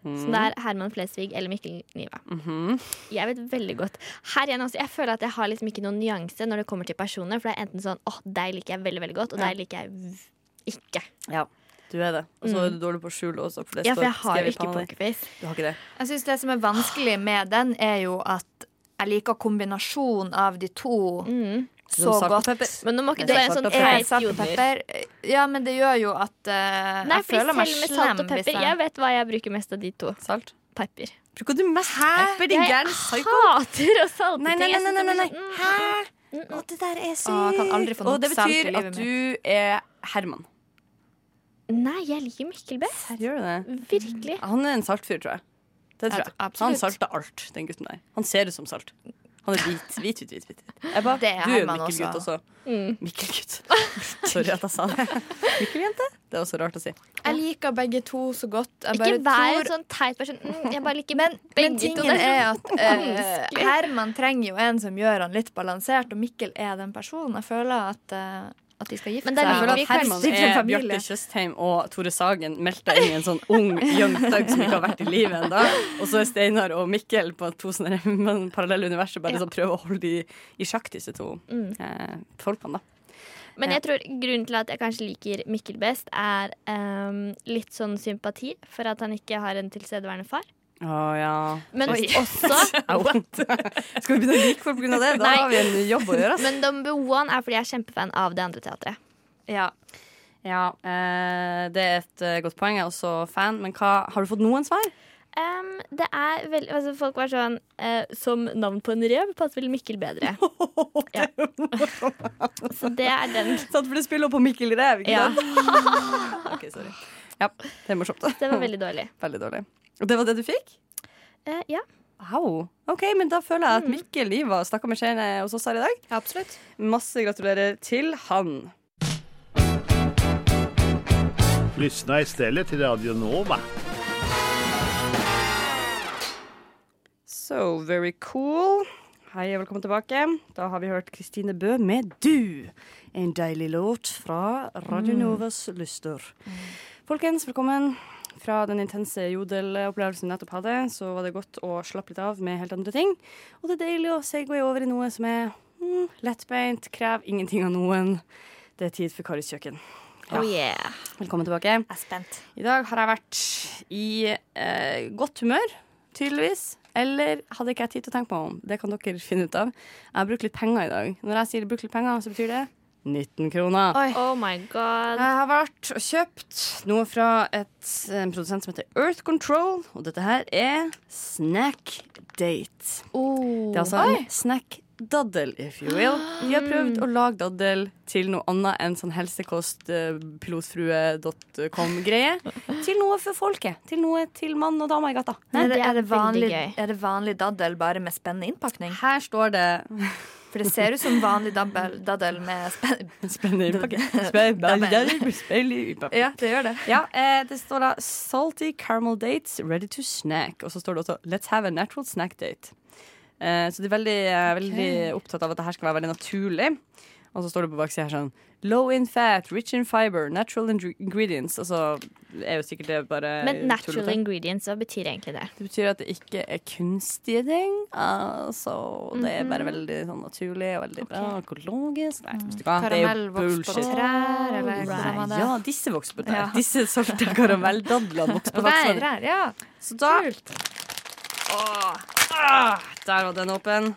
D: Mm.
F: Så det er Herman Flesvig eller Mikkel Niva.
D: mhm.
F: Jeg vet veldig godt. Her igjen også, Jeg føler at jeg har liksom ikke noen nyanse når det kommer til personer. For det er enten sånn åh, deg liker jeg veldig veldig godt, og deg liker jeg v- ikke.
D: Ja, du er det. Og så er du dårlig på å skjule også. For det
F: Ja, for
D: står
F: jeg har jo
D: skrevet på
F: ikke
D: panna di.
F: pokerface.
D: Du har ikke det.
E: Jeg synes Det som er vanskelig med den, er jo at jeg liker kombinasjonen av de to
F: Mm.
E: så
D: Salt og
E: godt.
D: pepper.
F: Men nå må
D: Det
F: ikke du
D: er
F: være en
D: salt
F: sånn
D: og pepper.
E: Er
F: teit
E: salt og
F: joder.
E: pepper Ja, men det gjør jo at eh,
F: Nei,
E: jeg
F: fordi selv
E: føler meg
F: med salt og
E: slem. hvis
F: pepper Jeg vet hva jeg bruker mest av de to.
D: Salt.
F: Pepper.
D: Bruker du mest pepper, din
F: Jeg
D: gærne psyko?
F: hater å salte
D: Nei, nei, nei,
F: ting. Jeg
D: nei,
F: synes
D: nei,
F: det
D: nei, nei.
F: blir sånn, mm,
D: Hæ?
F: mm, mm.
D: Å, det der er sykt.
E: Å, jeg kan aldri få
D: Og
E: nok
D: det
E: salt i
D: betyr
E: livet
D: at du er Herman.
F: Nei, jeg liker Mikkel best.
D: Gjør du det?
F: Virkelig.
D: Han er en saltfyr, tror jeg. Det tror
E: Jeg
D: jeg.
E: tror absolutt.
D: Han salter alt, den gutten der. Han ser ut som salt. Han er hvit, hvit, hvit, hvit. hvit. Jeg bare,
E: Det er
D: du er jo
E: Herman
D: Mikkel-gutt
E: også.
D: også. Mikkel-gutt. Sorry at jeg sa det. Mikkel-jente. Det er også rart å si.
E: Jeg liker begge to så godt. Jeg bare
F: Ikke vær en
E: tror-
F: sånn teit person. Mm, jeg bare liker
E: men, men
F: begge to.
E: tingen
F: Det er
E: er at eh, Herman trenger jo en som gjør han litt balansert, og Mikkel er den personen. Jeg føler at, eh, at de skal gifte
F: Men det er
E: seg.
D: Jeg føler
F: vi
D: at
F: kan
D: Herman
E: stifte en
D: er
E: familie.
D: Bjarte Tjøstheim og Tore Sagen melta inn i en sånn ung young thug som ikke har vært i livet ennå. Og så er Steinar og Mikkel på to sånne men parallelle universer bare sånn prøver å holde de i sjakk, disse to eh, folkene, da.
F: Men jeg tror grunnen til at jeg kanskje liker Mikkel best, er ehm, litt sånn sympati for at han ikke har en tilstedeværende far.
D: Å ja.
F: Men også
D: Au. Skal vi begynne å like folk pga. det? Da
F: Nei.
D: har vi en jobb å gjøre. ass.
F: Men number one er fordi jeg er kjempefan av det andre teatret.
E: Ja.
D: Ja, eh, det er et eh, godt poeng. Jeg er også fan. Men hva, har du fått noen svar?
F: Ehm, det er vel, altså Folk var sånn eh, Som navn på en rev passer vel Mikkel bedre. Ja. Så det er den.
D: Sant, for det spiller jo på Mikkel Rev, ikke
F: Ja,
D: sant? Ok, sorry. Ja, det er morsomt.
F: det var veldig dårlig.
D: Veldig dårlig. Og det var det du fikk?
F: Eh, ja.
D: Au. Mm. Ok, men da føler jeg at Mikkel Iva stakk av med skjeene hos oss her i dag.
E: Absolutt.
D: Masse gratulerer til han.
K: Lyssna istället till Radio Nova.
D: So very cool. Hei og velkommen tilbake. Da har vi hørt Kristine Bø med Du.
F: Mm.
D: En deilig låt fra Radio Novas lyster. Folkens, velkommen. Fra den intense jodelopplevelsen vi nettopp hadde, så var det godt å slappe litt av med helt andre ting. Og det er deilig å segway over i noe som er mm, lettbeint, krever ingenting av noen. Det er tid for Karis kjøkken.
F: Oh yeah.
D: Velkommen tilbake. Jeg
F: er spent.
D: I dag har jeg vært i eh, godt humør, tydeligvis. Eller hadde ikke jeg tid til å tenke meg om. Det kan dere finne ut av. Jeg har brukt litt penger i dag. Når jeg sier brukt litt penger, så betyr det 19 kroner.
F: Oh my god.
D: Jeg har vært og kjøpt noe fra et, en produsent som heter Earth Control, og dette her er Snack Date. Det er altså en snack daddel, if you will. De har prøvd å lage daddel til noe annet enn sånn eh, helsekostpilotfrue.com-greie. Til noe for folket. Til noe til mann og dame i gata.
E: Er det, er, det vanlig,
F: veldig gøy.
E: er det vanlig daddel bare med spennende innpakning?
D: Her står det
E: For det ser ut som vanlig dabbel, daddel med spenn...
D: Spennende innpakning. Spennende innpakning. Spennende innpakning.
E: Ja, det gjør det.
D: Ja, eh, det står da 'Salty caramel dates ready to snack'. Og så står det også 'Let's have a natural snack date'. Eh, så de er veldig, eh, veldig opptatt av at det her skal være veldig naturlig. Og så står det på baksida her sånn 'Low in fat, rich in fiber, natural ing- ingredients'. Altså er jo sikkert det bare
F: Men
D: tull og
F: natural
D: tøy.
F: ingredients, hva betyr egentlig det?
D: Det betyr at det ikke er kunstige ting. Altså, det er
E: Mhm.
D: bare veldig sånn naturlig og veldig bra. Økologisk. Nei, vet du hva, det er jo
E: Karamellvoks på
D: bullshit.
E: trær, eller hvordan var det?
D: Ja, disse vokser på trær.
E: Ja.
D: Disse solgte karamelldadlene vokser på
E: Trær,
D: trær.
E: trær, ja.
D: Så da Åh, ah, Der var den åpen.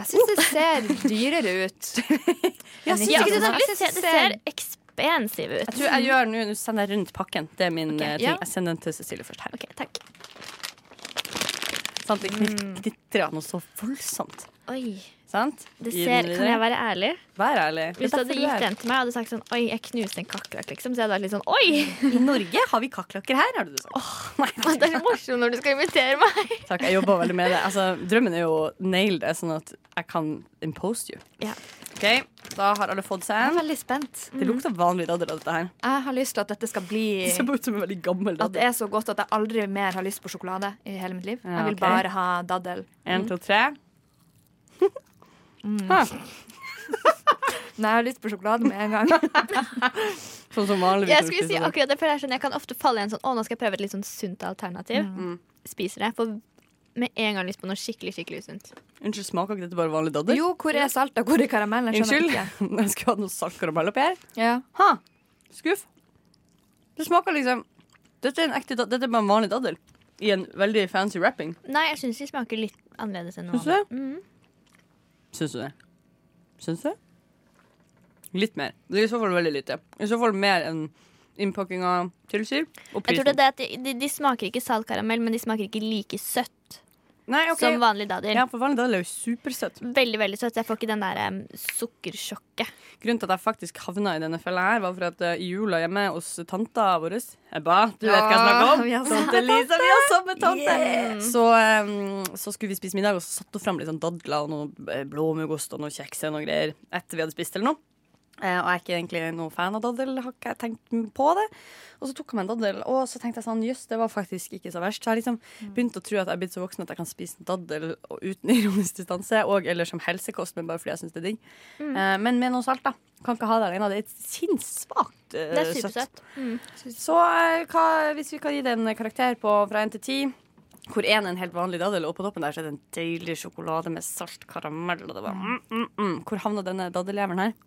E: Jeg syns det ser dyrere ut.
D: Ja,
E: Enn
D: syns
E: i
F: Ja,
D: ikke
F: det,
E: Kina.
D: det?
F: det, ser, det ser expensive
D: Jeg
F: ut.
D: tror jeg gjør nå, nå sender jeg rundt pakken. Det er min eh, ting.
E: ja.
D: Jeg sender den til Cecilie først her. Sånn
F: OK, takk.
D: Sant? Det knit- knitrer av noe så voldsomt.
F: Oi.
D: Sant?
F: Det
D: Gi
F: ser,
D: den
F: kan
D: videre.
F: jeg være ærlig?
D: Vær ærlig. Det er
F: Hvis du hadde
D: derfor er
F: gitt
D: her.
F: den til meg og hadde sagt sånn Oi, jeg knuste en kakerlakk, liksom, så jeg hadde vært litt sånn Oi!
D: I Norge har vi kakerlakker her, har du sagt. nei,
F: Det er så morsomt når du skal invitere meg.
D: takk, jeg jobber veldig med det. Altså, drømmen er jo å nail det, sånn at jeg kan impose you.
F: Ja.
D: Ok, Da har alle fått
E: Jeg
D: seg
E: er
D: en.
E: veldig spent.
D: Det lukter vanlig dadder av dette her.
E: Jeg har lyst til at dette skal bli
D: Det ser bare ut som en veldig gammel
E: At
D: dadder.
E: det er så godt at jeg aldri mer har lyst på sjokolade i hele mitt liv.
D: Ja,
E: Jeg vil
D: ok.
E: bare ha daddel.
D: En, to, tre.
E: Nei, jeg har lyst på sjokolade med en gang.
D: Sånn som vanligvis.
F: Jeg skulle si
D: lukter sånn.
F: akkurat det, for det er sånn jeg kan ofte falle i en sånn Å, nå skal jeg prøve et litt sånn sunt alternativ.
D: Mm.
F: Spiser det. Får med en gang lyst på noe skikkelig, skikkelig usunt.
D: Unnskyld, smaker ikke dette bare vanlig dadder?
E: Jo, hvor er saltet? Hvor er karamellen? Jeg skjønner
D: Unnskyld. Jeg skulle hatt noe saltkaramell oppi her.
E: ikke. Ja.
D: Ha, skuff. Det smaker liksom Dette er en ekte dadder. Dette er bare en vanlig dadder. I en veldig fancy wrapping.
F: Nei, jeg syns de smaker litt annerledes enn noe
D: Syns du det?
F: annet. Mhm.
D: Syns du det? Syns du det? Litt mer. Det er i så fall veldig lite. I så fall mer enn innpakkinga tilsier, og
F: Jeg
D: prisen.
F: tror det er det at de, de, de smaker ikke saltkaramell, men de smaker ikke like søtt
D: Nei, ok.
F: som vanlig dadder.
D: Ja, for vanlig dadder er jo supersøtt.
F: Veldig, veldig søtt. Jeg får ikke den der em, sukkersjokket.
D: Grunnen til at jeg faktisk havna i denne fella her, var for at eh, i jula hjemme hos tanta vår Ebba, du vet hva jeg snakker om?
E: vi har samme
D: Tante Lisa, vi har samme tante! Så, eh, så skulle vi spise middag, og så satte hun fram litt sånn dadler og noe eh, blåmuggost og noe kjeks og noe greier etter vi hadde spist eller noe. Eh, Og jeg er ikke egentlig noen fan av daddel, har ikke jeg tenkt på det. Og så tok jeg meg en daddel, og så tenkte jeg sånn, jøss, det var faktisk ikke så verst. Så jeg liksom begynte å tro at jeg er blitt så voksen at jeg kan spise en daddel og uten ironisk distanse, og eller som helsekost, men bare fordi jeg syns det er digg. Eh, Men med noe salt, da. Kan ikke ha det alene. Det er sinnssvakt eh,
F: Det er supersøtt.
D: Så eh, hva, hvis vi kan gi det en karakter på fra én til ti, hvor én er en helt vanlig daddel, og på toppen der så er det en deilig sjokolade med salt karamell, og det var mm, mm, mm. Hvor havna denne daddeljævelen her?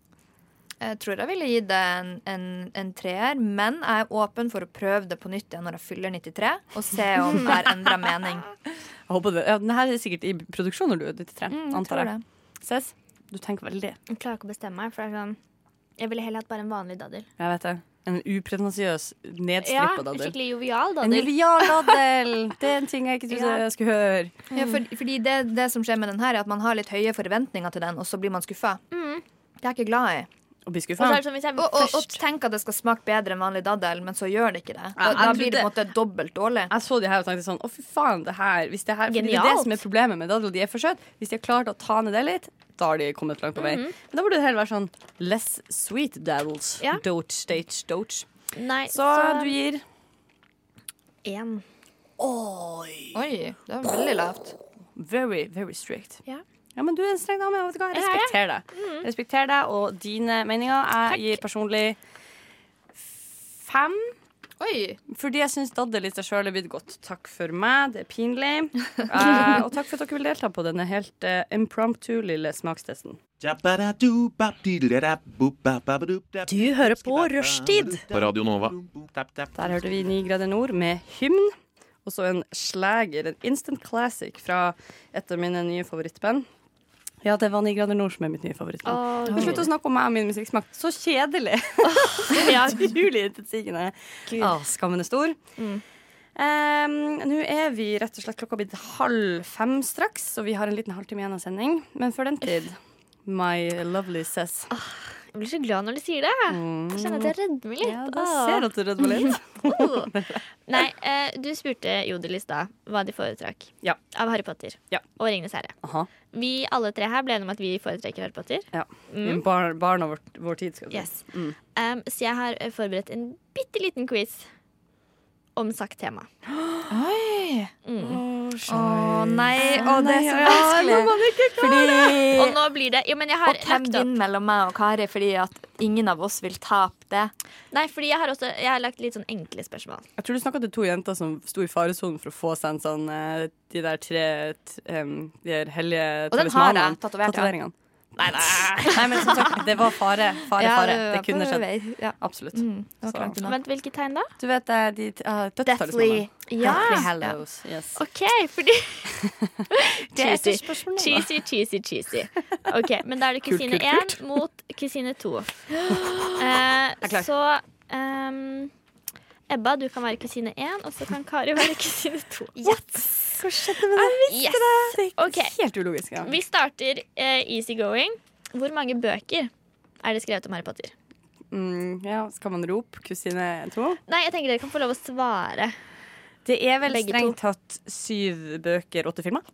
E: Jeg tror jeg ville gitt det en, en, en treer, men jeg er åpen for å prøve det på nytt igjen når jeg fyller 93, og se om jeg har endra mening.
D: Jeg håper det. Ja, den her er sikkert i produksjon når du er 93,
E: Jeg
D: antar
E: tror det.
D: jeg. Ses, du tenker veldig.
F: Jeg klarer ikke å bestemme meg. For det er sånn, jeg ville heller hatt bare en vanlig dadder.
D: Jeg vet det. En upretensiøs,
F: Ja,
D: nedstrippa daddel.
F: Skikkelig jovial
D: En
F: dadder.
D: jovial daddel! Det er en ting jeg ikke trodde
F: Ja.
D: jeg skulle høre.
E: Ja, for, fordi det, det som skjer med den her, er at man har litt høye forventninger til den, og så blir man skuffa.
D: Mm.
E: Det er jeg ikke glad i.
D: Å bli
F: Og så
D: skuffa.
F: er det sånn, hvis jeg
E: Og, og, og
F: først
E: tenk at det skal smake bedre enn vanlig daddel, men så gjør det ikke det.
D: jeg
E: Da, da
D: trodde-
E: blir det på en måte dobbelt dårlig.
D: Jeg så de her og tenkte sånn Å, fy faen, det her, hvis det her fordi Det er det
F: Genialt.
D: som er problemet med dadler. De er for søte. Hvis de har klart å ta ned det litt, da har de kommet langt på
F: Mhm.
D: vei. Men da burde det heller være sånn less sweet daddles.
F: Ja.
D: Doge, stage, doge.
F: Nei,
D: Så, du gir
F: én.
E: Oi, det var veldig lavt.
D: very, very strict.
F: Ja. Mhm.
D: Ja, men du er en streng dame. og Vet du hva? Jeg
F: Jeg er det.
D: respekterer deg. Respekter deg og dine meninger. Jeg gir personlig fem
E: Oi.
D: Fordi jeg syns daddelitt av sjøl er blitt godt. Takk for meg, det er pinlig. Eh, og takk for at dere vil delta på denne helt eh, impromptu lille smakstesten.
A: Du
D: hører på Rushtid.
L: På Radio Nova.
D: Der hørte vi 9 grader nord med hymn. Og så en slager, en instant classic fra et av mine nye favorittband. Ja, det var 9 grader nord som er mitt nye favorittband.
E: Åh.
D: Oh. Slutt å snakke om meg og min musikksmak. Så kjedelig! ja, utrolig intetsigende. Ah, skammen er stor.
F: Mm.
D: Ehm, Nå er vi rett og slett klokka blitt halv fem straks, og vi har en liten halvtime igjen av sending. Men før den tid, my lovely says.
F: Ah, Jeg blir så glad når du sier det. Jeg kjenner at jeg redder meg litt.
D: Mm. Ja, da
F: ah.
D: ser jeg at du redder meg litt.
F: Nei, eh, du spurte Jodel i stad hva de foretrakk av Harry Potter og Ringenes herre.
D: Aha.
F: Vi alle tre her ble enige om at vi foretrekker Harry Potter.
D: Ja.
F: Mm.
D: Barn, barn av vår, vår tid, skal vi si.
F: Yes.
D: Mm.
F: Um, så jeg har eh, forberedt en bitte liten quiz om sagt tema.
E: Oi!
F: Mm.
E: Å nei,
F: Å,
E: å, det er så
F: nei,
E: vanskelig.
F: nå må du ikke klare det. Og nå blir det- jo, men jeg har
E: Og hvem
F: lagt opp.
E: vinner mellom meg og Kari fordi at ingen av oss vil tape det?
F: Nei, fordi jeg har også jeg har lagt litt sånn enkle spørsmål.
D: Jeg tror du snakka til to jenter som sto i faresonen for å få seg en sånn eh, De der tre t, em, De der hellige
E: Og den har jeg tatovert, ja.
D: Tatoveringene. Nei, men som sagt, det var fare. Fare,
F: Ja,
D: fare.
F: det var
D: Det kunne
F: på
D: skjedd.
F: vei,
D: Absolutt. Så-
F: Vent, hvilket tegn da?
D: Du vet eh, de t- eh, dødstalismanene.
F: Deathly. Ja.
D: Deathly Hallows. Yes.
F: OK, fordi
D: Det er
F: Cheesy.
D: et spørsmål, da.
F: Cheesy, cheesy, cheesy. OK, men da er det
D: Kult,
F: kusine
D: kult, kult.
F: én mot kusine to. Eh, så ehm, Ebba, du kan være kusine én, og så kan Kari være kusine to.
D: Hva skjedde med det?
F: Jeg visste det!
D: Helt ulogisk. Ja.
F: Vi starter eh, easy going. Hvor mange bøker er det skrevet om Harry Potter?
D: Mm, ja, skal man rope kusine to?
F: Nei, jeg tenker dere kan få lov å svare.
D: Det er vel
F: Begge
D: strengt tatt syv bøker, åtte filmer?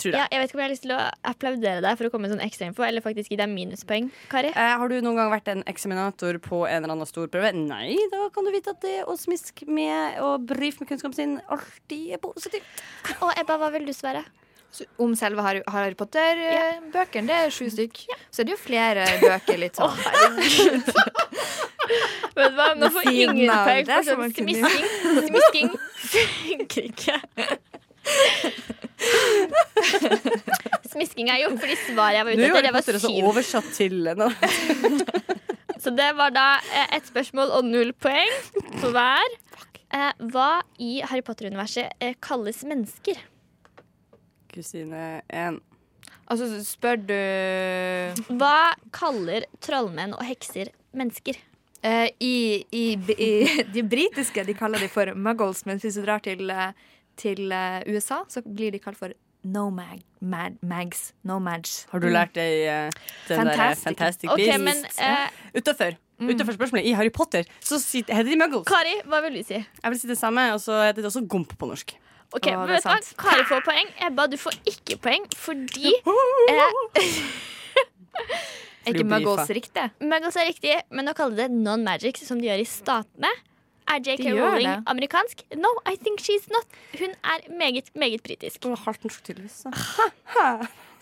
D: Tror jeg.
F: Ja, jeg vet ikke om jeg har lyst til å applaudere deg for å komme med sånn ekstrainfo, eller faktisk gi deg minuspoeng, Kari.
D: Eh, har du noen gang vært en eksaminator på en eller annen stor prøve? Nei, da kan du vite at det å smiske med og brife med kunnskapen sin alltid er positivt.
F: Og Ebba, hva vil du svare?
E: Om selve Harry, Harry Potter-bøkene. Det er sju
F: Mm.
E: stykk. Så er det jo flere bøker litt sånn.
F: Vet du hva, nå
E: Ved
F: får
E: siden
F: ingen
E: av
F: poeng
E: det,
F: for
E: så
F: sånn
E: man kunne jo-
F: smisking. Smisking funker ikke. Smisking er jo fordi svaret jeg var
D: Nå
F: ute
D: er
F: etter,
D: det
F: det var
D: Potter også
F: syv.
D: oversatt til nå.
F: Så det var da eh, ett spørsmål og null poeng for hver. Eh, Hva i Harry Potter-universet eh, kalles mennesker?
D: Kusine én.
E: Altså, spør du
F: Hva kaller trollmenn og hekser mennesker?
E: eh, i, i, i De britiske de kaller de for muggles, mens hvis du drar til, eh, til eh, USA, så blir de kalt for nomag, mad, mags, nomads.
D: Har du lært det i eh, den der
E: Fantastic.
D: Fantastic
E: Ok,
D: Beasts?
E: men, eh,
D: Utenfor. Utenfor spørsmålet. I Harry Potter så sitter- heter de muggles.
F: Kari, hva vil du si?
D: Jeg vil si det samme, og så heter det også gomp på norsk.
F: Ok,
D: Å,
F: men
D: det er
F: vet du hva?
D: sant.
F: Kari får poeng. Ebba, du får ikke poeng fordi eh,
E: Er ikke muggles riktig?
F: Muggles er riktig, men å kalle det non-magic, som de gjør i statene Er
E: De
F: JK
E: gjør
F: Rowling
E: det.
F: amerikansk? No, I think she's not. Hun er meget, meget britisk.
D: Hardt norsk, tydeligvis.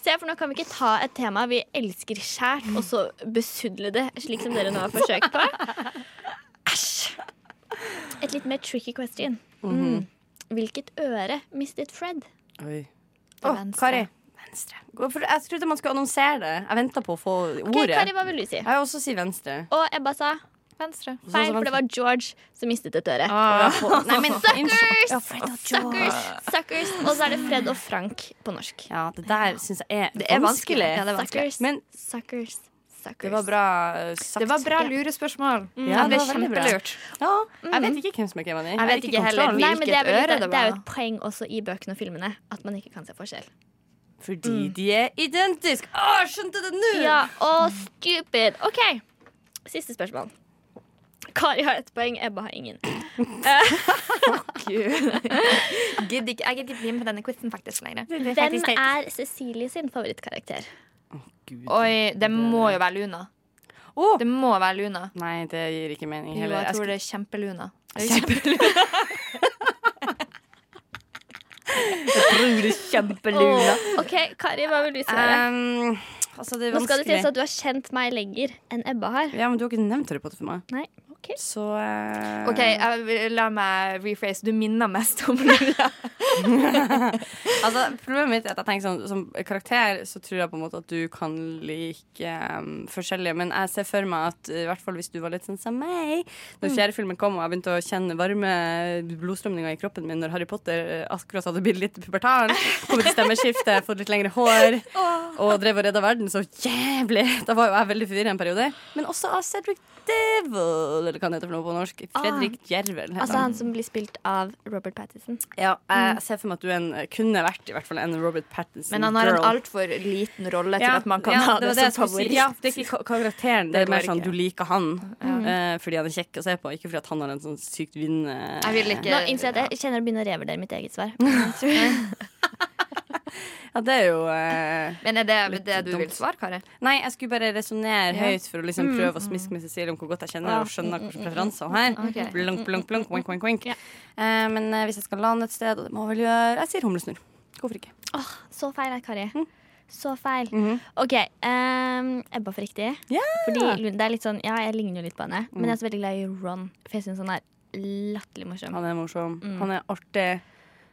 F: Se, for nå kan vi ikke ta et tema vi elsker skjært, og så besudle det, slik som dere nå har forsøkt på. Æsj! Et litt mer tricky question. Mm.
D: Mhm.
F: Hvilket øre mistet Fred?
D: Oi.
F: Til
D: Å,
F: venstre.
D: Kari. Venstre. Hvorfor- Jeg trodde man skulle annonsere det. Jeg venta på å få
F: Ok,
D: ordet.
F: Kari, hva vil du si?
D: Jeg vil også si venstre.
F: Og Ebba sa
E: Venstre.
F: feil, for det var George som mistet et øre.
E: Ah.
F: Nei, men
D: Ah. Ja,
F: suckers!
D: Fred og
F: Suckers!
D: George.
F: suckers. Og så er det Fred og Frank på norsk.
D: Ja, det der syns jeg er,
F: Det er vanskelig. Ja, det er vanskelig.
D: Suckers. Men
F: Suckers. Suckers.
D: det var bra eh, sagt.
E: Det var bra lurespørsmål.
D: Ja,
E: det
D: det var veldig
E: ble
D: bra.
E: kjempelurt.
D: Ja, jeg vet ikke hvem som er Kevin.
E: Mm. Jeg vet ikke heller
D: kontroll.
F: Nei, men det er, vel, litt-
E: Hvilket øre det
F: det er jo
E: var.
F: et poeng også i bøkene og filmene at man ikke kan se forskjell.
D: Fordi
E: Mm.
D: de er identiske. Å, skjønte det nå!
F: Ja, og stupid. OK. Siste spørsmål. Kari har ett poeng, Ebba har ingen.
E: Gidder ikke- Jeg gidder ikke bli med på denne quizen faktisk lenger.
F: Hvem er Cecilie sin favorittkarakter?
E: Oi, det må jo være Luna. Det må være Luna.
D: Nei, det gir ikke mening
E: Jo,
D: heller.
E: jeg tror
D: skulle-
E: det er kjempeluna.
D: jeg tror det er kjempelula.
F: Åh, OK, Kari, hva vil du svare?
D: Um, altså, det er
F: Nå skal det
D: vanskelig.
F: sies at du har kjent meg lenger enn Ebba har.
D: Ja, men du har ikke nevnt Harry Potter for meg.
F: Nei.
D: Så eh,
E: OK, jeg, vil- la meg rephrase. Du minner mest om Lula.
D: altså, problemet mitt er at jeg tenker sånn Som karakter så tror jeg på en måte at du kan like um, forskjellige, men jeg ser for meg at i hvert fall hvis du var litt sånn som meg Når
E: Mm.
D: fjerde filmen kom og jeg begynte å kjenne varme blodstrømninger i kroppen min når Harry Potter eh, akkurat hadde blitt litt pubertaren, kommet til stemmeskifte, fått litt lengre hår og drev og redda verden så jævlig Da var jo jeg veldig forvirra en periode. Men også av Cedric Devil, eller hva han heter for noe på norsk.
E: Ah.
D: Fredrik Jervel. heter
F: Altså han som blir spilt av Robert Pattinson.
D: ja, jeg ser for meg at du er en, kunne vært i hvert fall en Robert Pattinson
E: Men han har en
D: girl.
E: altfor liten rolle til at man kan
D: ja,
E: ha
D: det
E: det,
D: var det jeg
E: som
D: skulle si.
E: favoritt.
D: Ja, det er ikke ka- karakteren. Det
E: Det Mm.
D: er
E: var
D: mer
E: det
D: sånn du
E: ikke.
D: liker han
E: Ja.
D: eh, fordi han er kjekk å se på, ikke fordi at han har en sånn sykt vinnende
E: Jeg vil ikke
F: Nå innser jeg at jeg kjenner å begynne å revurdere mitt eget svar.
D: Ja, det er jo eh,
E: Men er det
D: Litt
E: det du vil
D: dumt.
E: svare, Kari?
D: Nei, jeg skulle bare resonnere
E: Ja.
D: høyt for å liksom
E: Mm.
D: prøve å smiske med Cecilie om hvor godt jeg kjenner
E: Ja.
D: og
E: Mm,
D: skjønner hvilke preferanser hun har.
E: Ok. Mm,
D: Blunk, blunk, blunk, wink, wink, wink. Eh, men eh, hvis jeg skal lande et sted, og det må jeg vel gjøre, jeg sier humlesnurr. Hvorfor ikke?
F: Åh, så feil, her, Kari. Så feil. OK. ehm, Ebba for riktig. Fordi Lund- det er litt sånn, ja, jeg ligner jo litt på henne. Men jeg er også veldig glad i Ron, for jeg syns han er latterlig morsom.
D: Han er morsom.
F: Mm.
D: Han er artig.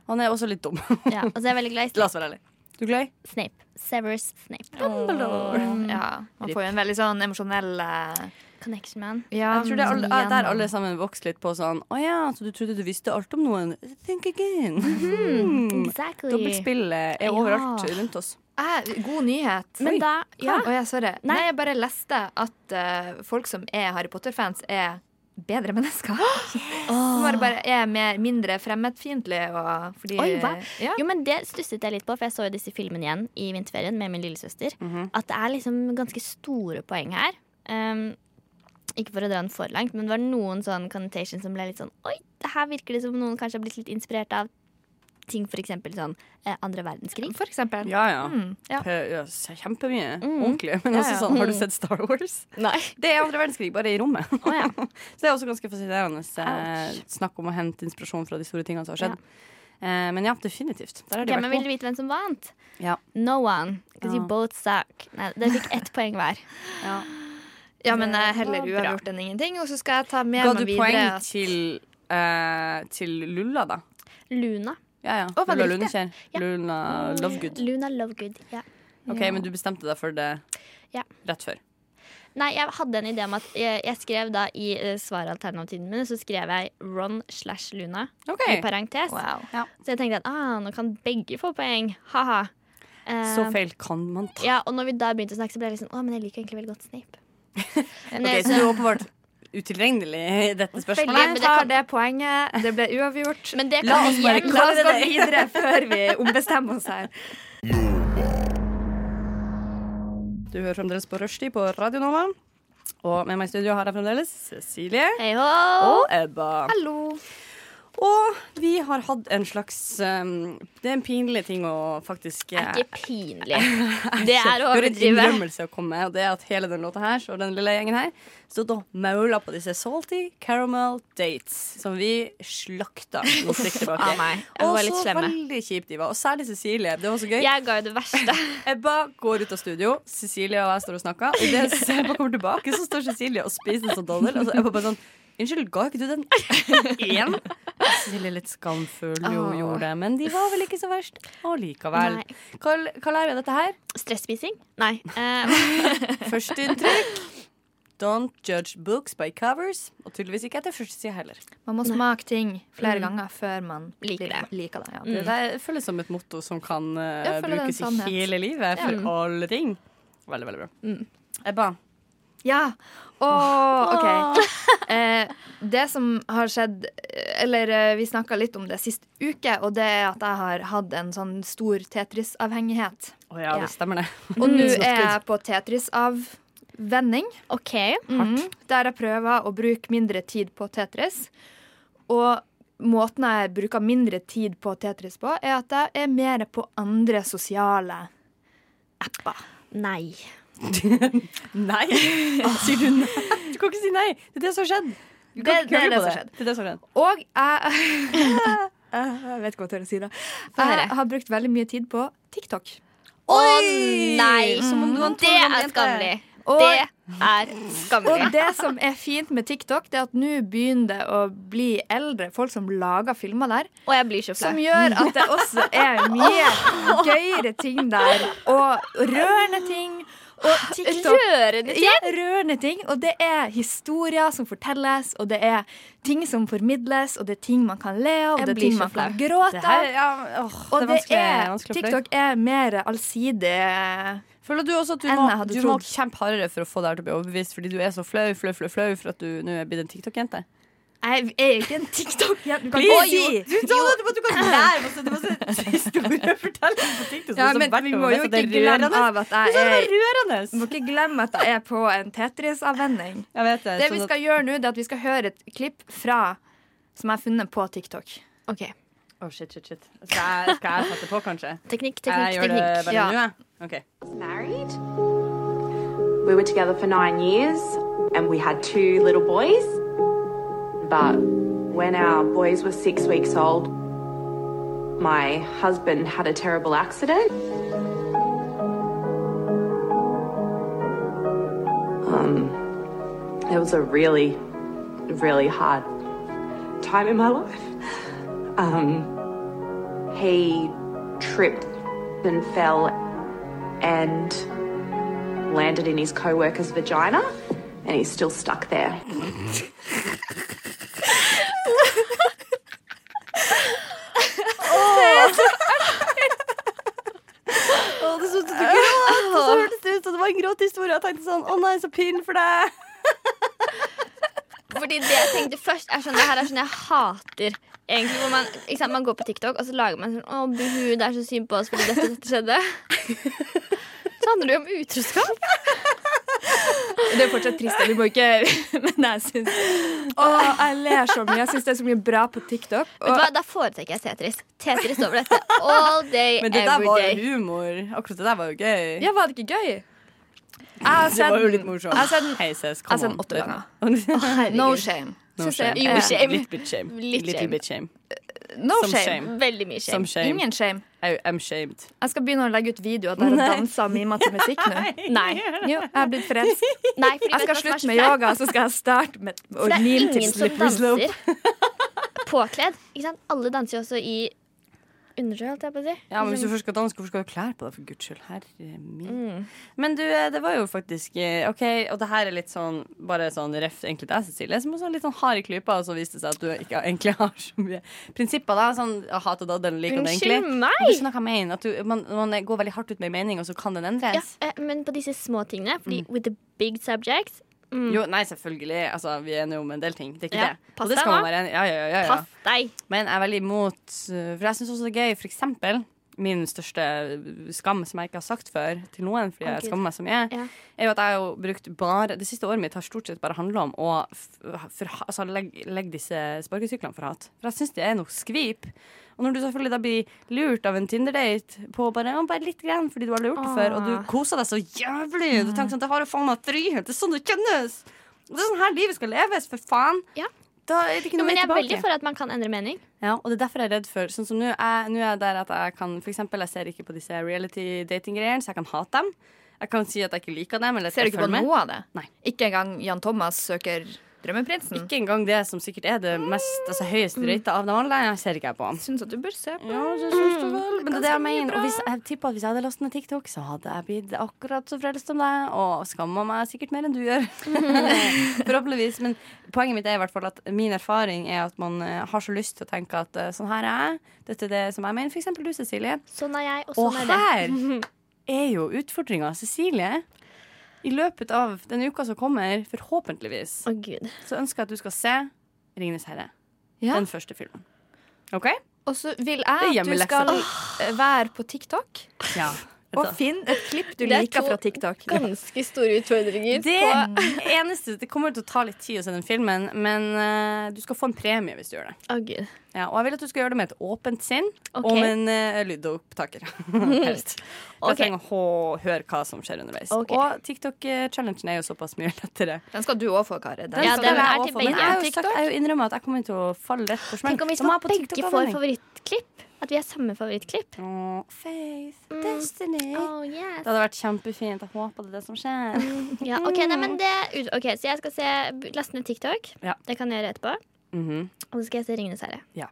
D: Han er også litt dum.
F: Ja, og så er jeg veldig glad i
D: La oss være ærlige. Du er glad i?
F: Snape. Severus Snape.
D: Dumbledore.
F: Mm.
E: Ja, man får jo en veldig sånn emosjonell eh,
F: Connection med han.
E: ja,
D: Jeg tror det er alle,
E: igjen.
D: der alle sammen vokste litt på sånn Å ja, så du trodde du visste alt om noen? Think again. Mm.
F: Exactly.
D: Dobbeltspillet er
F: Ja.
D: overalt rundt oss.
E: Eh, God nyhet.
F: Men da ja.
E: Å ja, sorry. Nei.
F: Nei.
E: jeg bare leste at eh, folk som er Harry Potter-fans, er bedre mennesker. Som bare, bare er mer, mindre fremmedfiendtlige og fordi
F: Oi, hva?
E: Ja.
F: Jo, men Det stusset jeg litt på, for jeg så jo disse filmene igjen i vinterferien med min lillesøster.
D: Mhm.
F: At det er liksom ganske store poeng her. Um, ikke for å dra den for langt, men det var noen sånn connotations som ble litt sånn Oi, det her virker det som noen kanskje har blitt litt inspirert av ting f.eks. sånn eh, andre verdenskrig.
E: For eksempel.
D: Ja, ja.
E: Mm, ja.
D: P- ja, s- Kjempemye.
F: Mm.
D: Ordentlig. Men
E: Ja,
D: også
E: ja.
D: sånn, har du sett Star Wars?
F: Nei.
D: Det er andre verdenskrig, bare i rommet.
F: Å ja.
D: Så det er også ganske fascinerende eh,
F: Ouch.
D: snakk om å hente inspirasjon fra de store tingene som har skjedd. Eh, men ja, definitivt. Der har de
F: Ok,
D: vært
F: men Vil du
D: på.
F: vite hvem som vant?
D: Ja. Ah.
F: No one. Because you
D: Ja.
F: both suck. Nei, Dere fikk ett poeng hver.
E: ja, men eh, heller
F: Det var bra.
E: uavgjort enn ingenting. Og så skal jeg ta med
D: Ga
E: meg
D: du
E: videre
D: poeng
E: at-
D: til, eh, til Lulla, da?
F: Luna.
D: Ja, ja.
E: Å, var det
D: Lulla
E: riktig?
D: Lundekjær.
F: Ja. Mm.
D: Luna Lovegood.
F: Luna Lovegood. Ja.
D: Ok,
E: Ja.
D: Men du bestemte deg for det
F: Ja.
D: rett før.
F: Nei, jeg hadde en idé om at jeg, jeg skrev da i uh, svaralternativene mine, så skrev jeg Ron slash Luna i parentes.
E: Wow.
F: Så jeg tenkte at ah, nå kan begge få poeng. Ha-ha. Eh,
D: Så feil kan man ta.
F: Ja, og når vi da begynte å snakke, så ble jeg liksom Å, men jeg liker egentlig veldig godt Snape. Men
D: Ok,
F: jeg-
D: så du er åpenbart utilregnelig i dette
E: Jeg
D: spørsmålet.
E: tar det poenget. Det ble uavgjort.
F: men det
E: La
F: kan
E: oss bare
F: igjen-
E: la oss gå videre før vi ombestemmer oss her.
D: Du hører fremdeles på Rushdie på Radio Nova. Og med meg i studio har jeg fremdeles Cecilie
F: Hei hå!
D: og Ebba.
E: Hallo.
D: Og vi har hatt en slags um, Det er en pinlig ting å faktisk
F: Det er
D: eh,
F: ikke pinlig. Det er å
D: Jeg har en
F: overdrive.
D: innrømmelse å komme med, og det er at hele den låta her, og den lille gjengen her, stod og maula på disse salty caramel dates, som vi slakta noen stikk tilbake.
F: Av meg. Jeg var
D: og
F: litt
D: så
F: slemme.
D: veldig kjipt de var. Og særlig Cecilie. Det var så gøy.
F: Jeg ga jo det verste.
D: Ebba går ut av studio, Cecilie og jeg står og snakker. Og det så Ebba kommer tilbake, så står Cecilie og spiser en sånn donut. Og så Ebba bare sånn Unnskyld, ga ikke du den én? Cecilie litt skamfull, jo,
E: Åh.
D: gjorde det. Men de var vel ikke så verst allikevel.
F: Nei.
D: Hva, hva lærer jeg av dette her?
F: Stresspising? Nei. Eh,
D: Førsteinntrykk. Don't judge books by covers. Og tydeligvis ikke etter første sida heller.
E: Man må smake ting flere ganger før man
F: Mm. Liker
E: blir-
F: det. Mm.
E: liker det. Ja.
D: Det der føles som et motto som kan eh,
E: Ja, Mm. føler det er en
D: brukes i
E: sannhet.
D: hele livet, for alle ting. Veldig, veldig bra.
E: Mm.
D: Ebba.
E: Ja. Åh, OK. Eh, det som har skjedd eh, Eller eh, vi snakka litt om det sist uke, og det er at jeg har hatt en sånn stor Tetris-avhengighet.
D: Å ja,
F: Ja.
D: det stemmer, det.
F: Mm.
E: Og nå er jeg på Tetris-avvenning,
F: OK.
E: mm, der jeg prøver å bruke mindre tid på Tetris. Og måten jeg bruker mindre tid på Tetris på, er at jeg er mer på andre sosiale
F: Nei.
D: Nei! Sier du nei? Du kan ikke si nei! Det er det som har skjedd. Du
E: Ah. Det-
D: kan ikke
E: det er
D: kødde
E: det
D: på
E: som har
D: det. det er det som har skjedd.
E: Og jeg Jeg vet ikke hva jeg tør å si, da. Jeg har brukt veldig mye tid på TikTok.
F: Å nei!
D: Som om du var en
F: Mm, det
D: tolv år
F: er
D: jente.
F: skammelig.
E: Og,
F: Det er skammelig.
E: Og det som er fint med TikTok, det er at nå begynner det å bli eldre folk som lager filmer der.
F: Og jeg blir så flau.
E: Som gjør at det også er mye gøyere ting der. Og rørende ting. Og TikTok.
F: Ah, Rørende ting?
E: Ja, rørende ting. Og det er historier som fortelles, og det er ting som formidles, og det er ting man kan le av, og
F: Jeg
E: det er
F: blir
E: ting
F: så
E: man kan
F: flau.
E: gråte
F: Det
E: av.
F: her- ja, åh, det er
E: og det
F: vanskelig-
E: er,
F: vanskelig å pløye.
E: TikTok er mer allsidig
D: Føler du også at du
E: enn
D: må,
E: jeg hadde
D: du må
E: trodd.
D: kjempe hardere for å få deg til å bli overbevist, fordi du er så flau, flau, flau, flau for at du nå er blitt en TikTok-jente?
E: Jeg er ikke en TikTok-jente.
D: Please, si! Du sa det, du kan lære masse, det er masse historiefortelling på TikTok.
E: Ja,
D: som
E: men
D: hvert
E: vi
D: år
E: må
D: er så
E: jo ikke
D: det er
E: glemme
D: rørende.
E: av at jeg
D: Det er så
E: er-
D: rørende.
E: Må ikke glemme at jeg er på en Tetris-avvenning.
D: vet
E: det,
D: det, sånn
E: vi
D: at-
E: skal gjøre nå, det er at vi skal høre et klipp fra som jeg har funnet på TikTok.
D: Å, shit, shit, shit. Skal jeg, skal jeg sette på, kanskje?
F: Teknikk,
D: Jeg gjør det bare nå, jeg. Ok.
L: Married. We were together for nine years and we had two little boys. But when our boys were six weeks old, my husband had a terrible accident. Um, it was a really, really hard time in my life. Um, he tripped and fell and landed in his co-worker's vagina and he's still stuck there.
D: Å, det så ut som du gråt, og så hørtes det ut som det var en gråtehistorie. Jeg tenkte sånn, å nei, så pinlig for deg.
F: Fordi det jeg tenkte først er sånn, Det her er sånn jeg hater Egentlig hvor man, ikke sant, man går på TikTok og så lager man sånn Å, buhu, det er så synd på oss fordi dette, dette skjedde Så handler det jo om utroskap
E: Det er fortsatt trist, vi må ikke Men jeg syns Å, jeg ler så mye. Jeg syns det er så mye bra på TikTok.
F: Vet du hva, Da foretrekker jeg Tetris Tetris over dette all day,
D: Men det der
F: every
D: var
F: day
D: jo humor. Akkurat det der var jo gøy.
E: Ja, var det ikke gøy? Jeg har
D: det var
E: sett
D: jo
E: den-
D: litt morsomt.
E: Jeg har sett den-
D: Hei, ses,
E: jeg har
D: come
E: sett den
D: on.
E: åtte ganger.
F: herregud.
E: No shame.
D: No
E: Synes
D: shame.
E: jeg-
D: Eh,
E: Jo, shame.
D: Litt bit shame.
E: Litt
D: Little
E: shame.
D: bit shame.
E: No
D: Some
E: shame.
D: shame.
F: Veldig mye
D: Some shame.
E: Ingen shame.
D: I am shamed.
E: Jeg skal begynne å legge ut videoer der jeg
D: Nei.
E: danser og mimer til musikk nå.
F: Nei.
E: Jo, jeg har blitt frelst.
F: Nei, fordi
E: Jeg
F: vet du hva som
E: skal
F: er
E: slutte
F: så
E: med
F: flaut?
E: yoga, så skal jeg starte med å
F: For det er
E: mime til
F: ingen som
E: slippery slope.
F: danser påkledd. Ikke sant? Alle danser jo også i undertøy, holdt jeg på å si.
D: Ja, men Hvis du
F: Liksom-
D: først skal danse, hvorfor skal du ha klær på deg? For guds skyld, herre min.
F: Mm.
D: Men du, eh, det var jo faktisk eh, OK, og det her er litt sånn bare sånn ref egentlig deg, Cecilie, som også er litt sånn hard i klypa, og så viste det seg at du ikke egentlig har så mye prinsipper, da. Sånn jeg hater daddelen, liker den egentlig.
F: Unnskyld meg!
D: Du skjønner hva jeg mener, at du, man, man går veldig hardt ut med en mening, og så kan den
F: ja,
D: endres.
F: eh, men på disse små tingene, fordi with the big subject mm,
D: Jo, nei, selvfølgelig. Altså, vi er enige om en del ting. Det er ikke
F: Ja,
D: det.
F: pass
D: og det
F: deg
D: skal man
F: nå.
D: være enig ja, ja, ja, ja.
F: Pass deg!
D: Men jeg er veldig imot uh, For jeg syns også det er gøy, for eksempel Min største skam som jeg ikke har sagt før til noen, fordi
F: Å,
D: jeg
F: Gud.
D: skammer meg så mye,
F: Ja.
D: er jo at jeg har jo brukt bare Det siste året mitt har stort sett bare handla om å f- for, altså, legge legg disse sparkesyklene for hat. For jeg syns det er noe skvip. Og når du selvfølgelig da blir lurt av en Tinder-date på bare, «Å, bare litt grann fordi du aldri har gjort det før, og
F: Åh.
D: du koser deg så jævlig, du tenker sånn Det har jo faen meg frihet, det er sånn det kjennes! Og Det er sånn her livet skal leves, for faen!
F: Ja.
D: Da er det ikke
F: Jo,
D: noe
F: men
D: vei
F: jeg er
D: tilbake.
F: veldig for at man kan endre mening.
D: Ja, og det er derfor jeg er redd for Sånn som nå er, nå er jeg der at jeg kan For eksempel, jeg ser ikke på disse reality dating-greiene Så jeg kan hate dem Jeg kan si at jeg ikke liker dem eller at
E: Ser du
D: jeg
E: ikke på
D: følger med.
E: noe av det?
D: Nei.
E: Ikke engang Jan Thomas søker Drømmeprinsen?
D: Ikke engang det som sikkert er det mest Altså høyest røyta av dem alle Jeg ser ikke jeg på dem
E: Mm. Syns at du bør se på. Mm.
D: ja, det synes du vel Men det er det jeg mener Og hvis, jeg tipper at hvis jeg hadde lastet ned TikTok Så hadde jeg blitt akkurat så frelst som deg Og skammet meg sikkert mer enn du gjør Forhåpentligvis Men poenget mitt er i hvert fall at Min erfaring er at man eh, har så lyst til å tenke at eh, Sånn her er jeg Dette er det som jeg mener For eksempel du Cecilie
F: Sånn er jeg, og
D: Og
F: sånn er det.
D: her er jo utfordringa Cecilie. I løpet av den uka som kommer, forhåpentligvis,
F: Å, gud.
D: så ønsker jeg at du skal se 'Ringenes herre'.
E: Ja.
D: Den første filmen. OK?
E: Og så vil
D: Det er
E: jeg at du
D: hjemmelekse.
E: skal eh, være på TikTok
D: Ja.
E: og finne et klipp du
F: Det er
E: liker
F: to-
E: fra TikTok.
F: Ganske store utfordringer.
D: Det
F: på
D: eneste Det kommer til å ta litt tid å se den filmen, men eh, du skal få en premie hvis du gjør det.
F: Å, gud.
D: Ja, og jeg vil at du skal gjøre det med et åpent sinn
F: Ok.
D: og med en eh, lydopptaker. Helst. For Jeg
F: Ok.
D: trenger å hå- høre hva som skjer underveis.
F: Ok.
D: Og TikTok-challengen er jo såpass mye lettere.
E: Den skal du òg få, Kari. Den
F: Ja,
E: skal
F: den
E: du
F: er
E: også
F: til
E: få.
D: Men
F: begge.
E: Men
D: jeg
E: jeg
D: har
E: er
D: jo
E: jo
D: sagt, jeg har jo innrømmet at jeg kommer til å falle rett på smellen.
F: Tenk om vi
D: Da må
F: skal
D: jeg på
F: begge
D: TikTok
F: får
D: anmelding.
F: favorittklipp. At vi har samme favorittklipp.
D: Faith,
F: Mm.
D: Destiny.
F: Oh, yes.
D: Det hadde vært kjempefint. Jeg håper det er det som skjer.
F: Ja, ok, nei, men det, ut- ok, Så jeg skal se, laste ned TikTok.
D: Ja.
F: Det kan jeg gjøre etterpå.
D: Mhm.
F: Og så skal jeg se Ringenes herre.
D: Ja.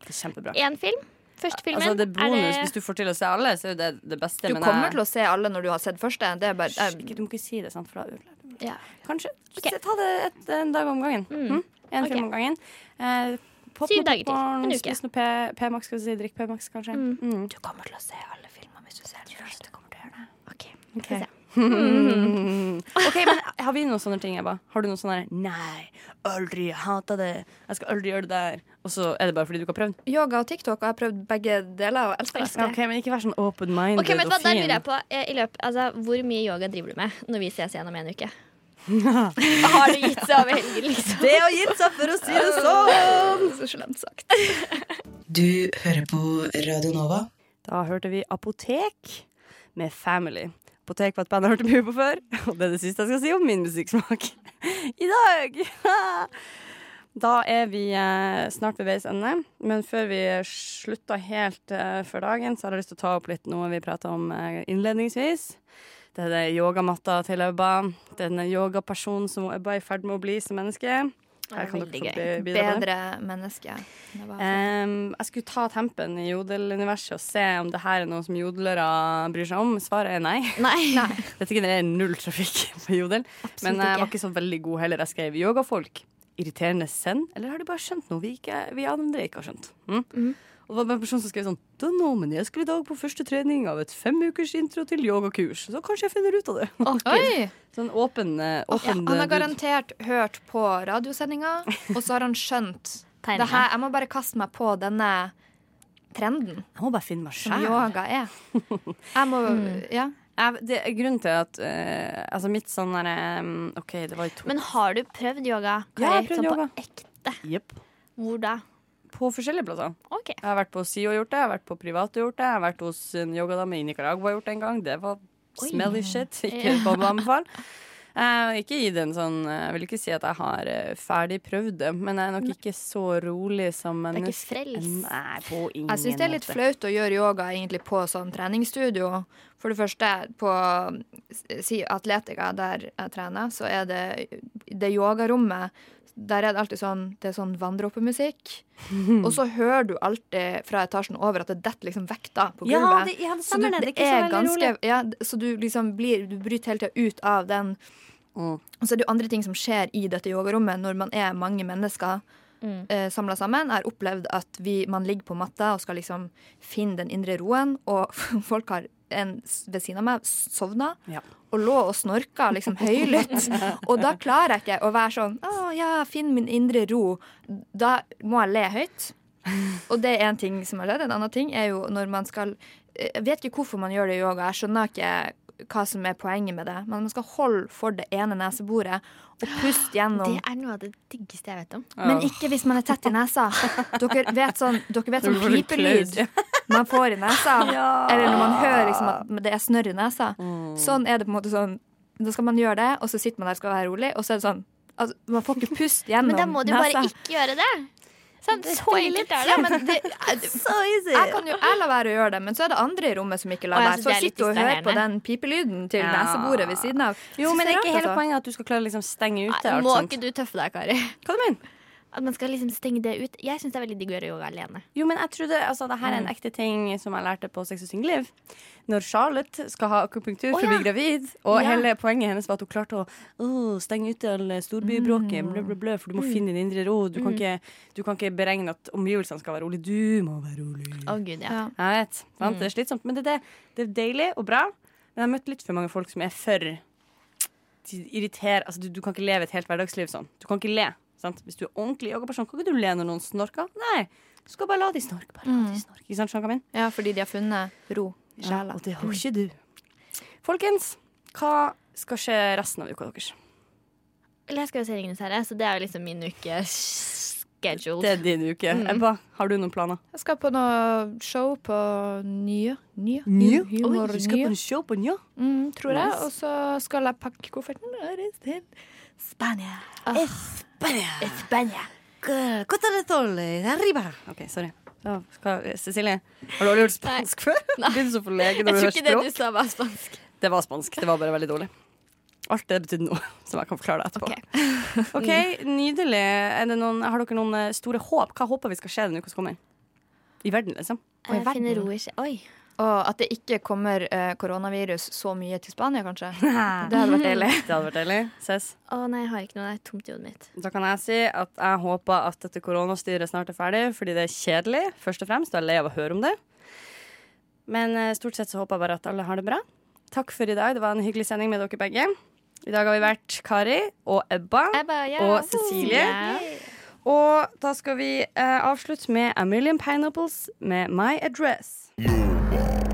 D: Det er kjempebra.
F: Én film. Første filmen.
D: Altså, det er bonus.
F: det-
D: Hvis du får til å se alle, så er jo det det beste.
E: Du
D: men
E: kommer
D: jeg-
E: til å se alle når du har sett første. Det er bare,
D: Hysj, ikke- Du må ikke si det, sant, for da ødelegger du det.
F: Ja.
D: Kanskje se- ta det et, en dag om gangen. Hm? En
F: Mm. Ok.
D: film om gangen. Eh, pop
F: Syv
D: noe
F: dager til.
D: popcorn,
F: En uke.
D: Spis noe P- P-Max, skal vi si. Drikk P-Max, kanskje. Mm.
F: Du kommer til å se alle filmer hvis du ser den første. Du kommer til å gjøre det. Ok,
D: Ok.
F: skal vi se.
D: OK, men har vi noen sånne ting, Ebba? Har du noen sånne her, Nei, aldri hata det. Jeg skal aldri gjøre det der. Og så er det bare fordi du ikke har prøvd?
E: Yoga og TikTok, og jeg har prøvd begge deler og elsker det.
D: Ja, OK, men ikke vær sånn open-minded
F: Ok, men
D: og
F: hva, Der
D: fin.
F: lurer jeg på, eh, i løpet, altså, Hvor mye yoga driver du med når vi ses igjen om en uke? Har det gitt seg over helgen, liksom?
D: Det har gitt seg, for å si det sånn!
E: Så slemt sagt.
J: Du hører på Radio Nova.
D: Da hørte vi Apotek med Family. Apotek var et band jeg hørte mye på før, og det er det siste jeg skal si om min musikksmak i dag. Da er vi eh, snart ved veis ende, men før vi slutter helt eh, for dagen, så har jeg lyst til å ta opp litt noe vi prata om eh, innledningsvis. Det er den yogamatta til Ebba. Det er den yogapersonen som Ebba er i ferd med å bli som menneske. Her kan dere få bli- bidra med det.
E: Bedre menneske. Det var
D: Ehm, jeg skulle ta tempen i jodeluniverset og se om det her er noe som jodlere bryr seg om. Svaret er nei.
F: Nei.
D: Dette genererer null trafikk på jodel. men eh, jeg var
F: ikke.
D: ikke så veldig god heller. Jeg skrev yogafolk. Irriterende send? Eller har de bare skjønt noe vi, ikke, vi andre ikke har skjønt? Mm? Og det var bare en person som skrev sånn «Don't know, men jeg skulle i dag på første trening av et fem ukers intro til yogakurs. Så kanskje jeg finner ut av det.
E: Oi!
D: Sånn åpen, eh,
E: Ja,
D: åpen
E: han har
D: eh, bud.
E: garantert hørt på radiosendinga, og så har han skjønt
F: Tegnene.
E: det her, Jeg må bare kaste meg på denne trenden
D: Jeg må bare finne meg
E: som
D: sjæl.
E: yoga er. Jeg må
F: Hmm.
E: Ja.
D: Jeg, det er grunnen til at eh, Altså mitt sånn derre mm, OK, det var i to
F: Men har du prøvd yoga?
D: Ja, jeg har
F: Kari?
D: prøvd
F: Sånn
D: yoga.
F: På ekte?
D: Jepp.
F: Hvor da?
D: På forskjellige plasser.
F: Ok.
D: Jeg har vært på SIO og gjort det, jeg har vært på private og gjort det, jeg har vært hos en yogadame i Nicaragua og gjort det en gang. Det var smelly shit. Ikke på å anbefale. Eh, ikke i den sånn eh, Jeg vil ikke si at jeg har eh, ferdig prøvd det, men jeg er nok ikke så rolig som
F: Det er ikke
D: menneske.
F: frels.
D: Nei, på ingen måte.
E: Jeg syns det er litt flaut å gjøre yoga egentlig på sånn treningsstudio. For det første, på si, Atletica, der jeg trener, så er det det yogarommet Der er det alltid sånn Det er sånn vanndråpemusikk. Og så hører du alltid fra etasjen over at det detter liksom vekta på
D: Ja,
E: gulvet.
D: det- ja, det
E: så du,
D: stemmer det.
E: det
D: Det er ikke så
E: er
D: veldig
E: ganske
D: rolig.
E: ja, d- Så du liksom blir Du bryter hele tida ut av den.
D: Mm.
E: Og så er det jo andre ting som skjer i dette yogarommet når man er mange mennesker eh, samla sammen. Jeg har opplevd at vi, man ligger på matta og skal liksom finne den indre roen, og folk har en s- ved siden av meg sovna
D: Ja.
E: og lå og snorka liksom høylytt. og da klarer jeg ikke å være sånn Å ja, finn min indre ro. Da må jeg le høyt. Og det er en ting som er ledd. En annen ting er jo når man skal eh, Jeg vet ikke hvorfor man gjør det i yoga. Jeg skjønner ikke hva som er poenget med det. Men man skal holde for det ene neseboret og puste gjennom.
F: Det er noe av det diggeste jeg vet om.
E: Men ikke hvis man er tett i nesa. Dere vet sånn, dere vet
D: Når
E: sånn
D: du får litt
E: pipelyd
D: klaud,
E: man får i nesa. Eller når man hører liksom at det er snørr i nesa. Sånn er det på en måte sånn Da skal man gjøre det, og så sitter man der og skal være rolig, og så er det sånn altså, Man får ikke pust gjennom
F: Men
E: nesa.
F: da må du bare
D: altså.
F: ikke gjøre det. Sånn, så enkelt er det.
E: Ja, men det, jeg kan jo jeg la være å gjøre det, men så er det andre i rommet som ikke lar
F: Å, jeg
E: være.
F: synes
E: Så
F: det er litt
E: sitter du og hører på
F: distraherende.
E: den pipelyden til
D: Ja.
E: neseboret ved siden av.
D: Jo,
E: Synes
D: men det
E: det
D: er
E: er
D: ikke
E: rart,
D: hele
E: altså.
D: poenget at du skal klare å liksom stenge ute
F: Nei,
D: alt
F: må
D: sånt.
F: ikke du tøffe deg, Kari?
D: Hva du mener
F: At man skal liksom stenge det ut. Jeg syns det er veldig digg å gjøre yoga alene.
D: Jo, men jeg trodde, altså, det
F: Mm.
D: her er en ekte ting som jeg lærte på Sex og singelliv. Når Charlotte skal ha akupunktur for
F: Å,
D: å bli
F: ja.
D: gravid, og
F: Ja.
D: hele poenget hennes var at hun klarte å «Åh, stenge ute all storbybråket,
F: Mm.
D: blø, blø, blø, for du må finne din indre ro. Du kan, ikke, du kan ikke beregne at omgivelsene skal være rolig. Du må være rolig.
F: Å gud, ja.
E: Ja.
D: Jeg vet, sant? Det er slitsomt, men det er, det. det er deilig og bra. Men jeg har møtt litt for mange folk som er for de irriterer. Altså, du, du kan ikke leve et helt hverdagsliv sånn. Du kan ikke le. Sant? Hvis du er ordentlig yogaperson, kan ikke du le når noen snorker? Nei, du skal bare la de snorke. Bare la de snorke. Ikke sant, Skjønner du hva jeg mener?
E: Ja, fordi de har funnet ro i sjela.
D: Og det har ikke du. Folkens, hva skal skje resten av uka deres?
F: Eller jeg skal jo se Ringenes herre, så det er jo liksom min uke scheduled.
D: Det er din uke. Ebba, har du noen planer?
E: Jeg skal på noe show på Nye. Nye? Humor
D: Oi, du skal
E: Nye.
D: på en show på Njø?
E: Mm, tror jeg.
D: Nice.
E: Og så skal jeg pakke kofferten og reise til Spania.
D: Eh, Espania. Cosa le tole? Arriba. OK, sorry. Ja, hva, Cecilie, har du aldri hørt spansk før? Du begynner som for lege når du hører språk.
F: sa var spansk.
D: Det var spansk. Det var bare veldig dårlig. Alt det betydde noe, som jeg kan forklare deg etterpå. Ok, Nydelig. Er det noen, har dere noen eh, store håp? Hva håper vi skal skje denne uka som kommer? I verden, liksom?
E: Og i verden. Og at det ikke kommer eh, koronavirus så mye til Spania, kanskje. Det hadde vært deilig.
D: Det hadde vært deilig. Ses.
F: Å nei, jeg har ikke noe. Det er tomt i hodet mitt.
D: Da kan jeg si at jeg håper at dette koronastyret snart er ferdig, fordi det er kjedelig, først og fremst. Og jeg er lei av å høre om det. Men eh, stort sett så håper jeg bare at alle har det bra. Takk for i dag. Det var en hyggelig sending med dere begge. I dag har vi vært Kari og Ebba,
F: ja.
D: og Cecilie. Og da skal vi eh, avslutte med A Million Pineapples med My Address.
A: Nova.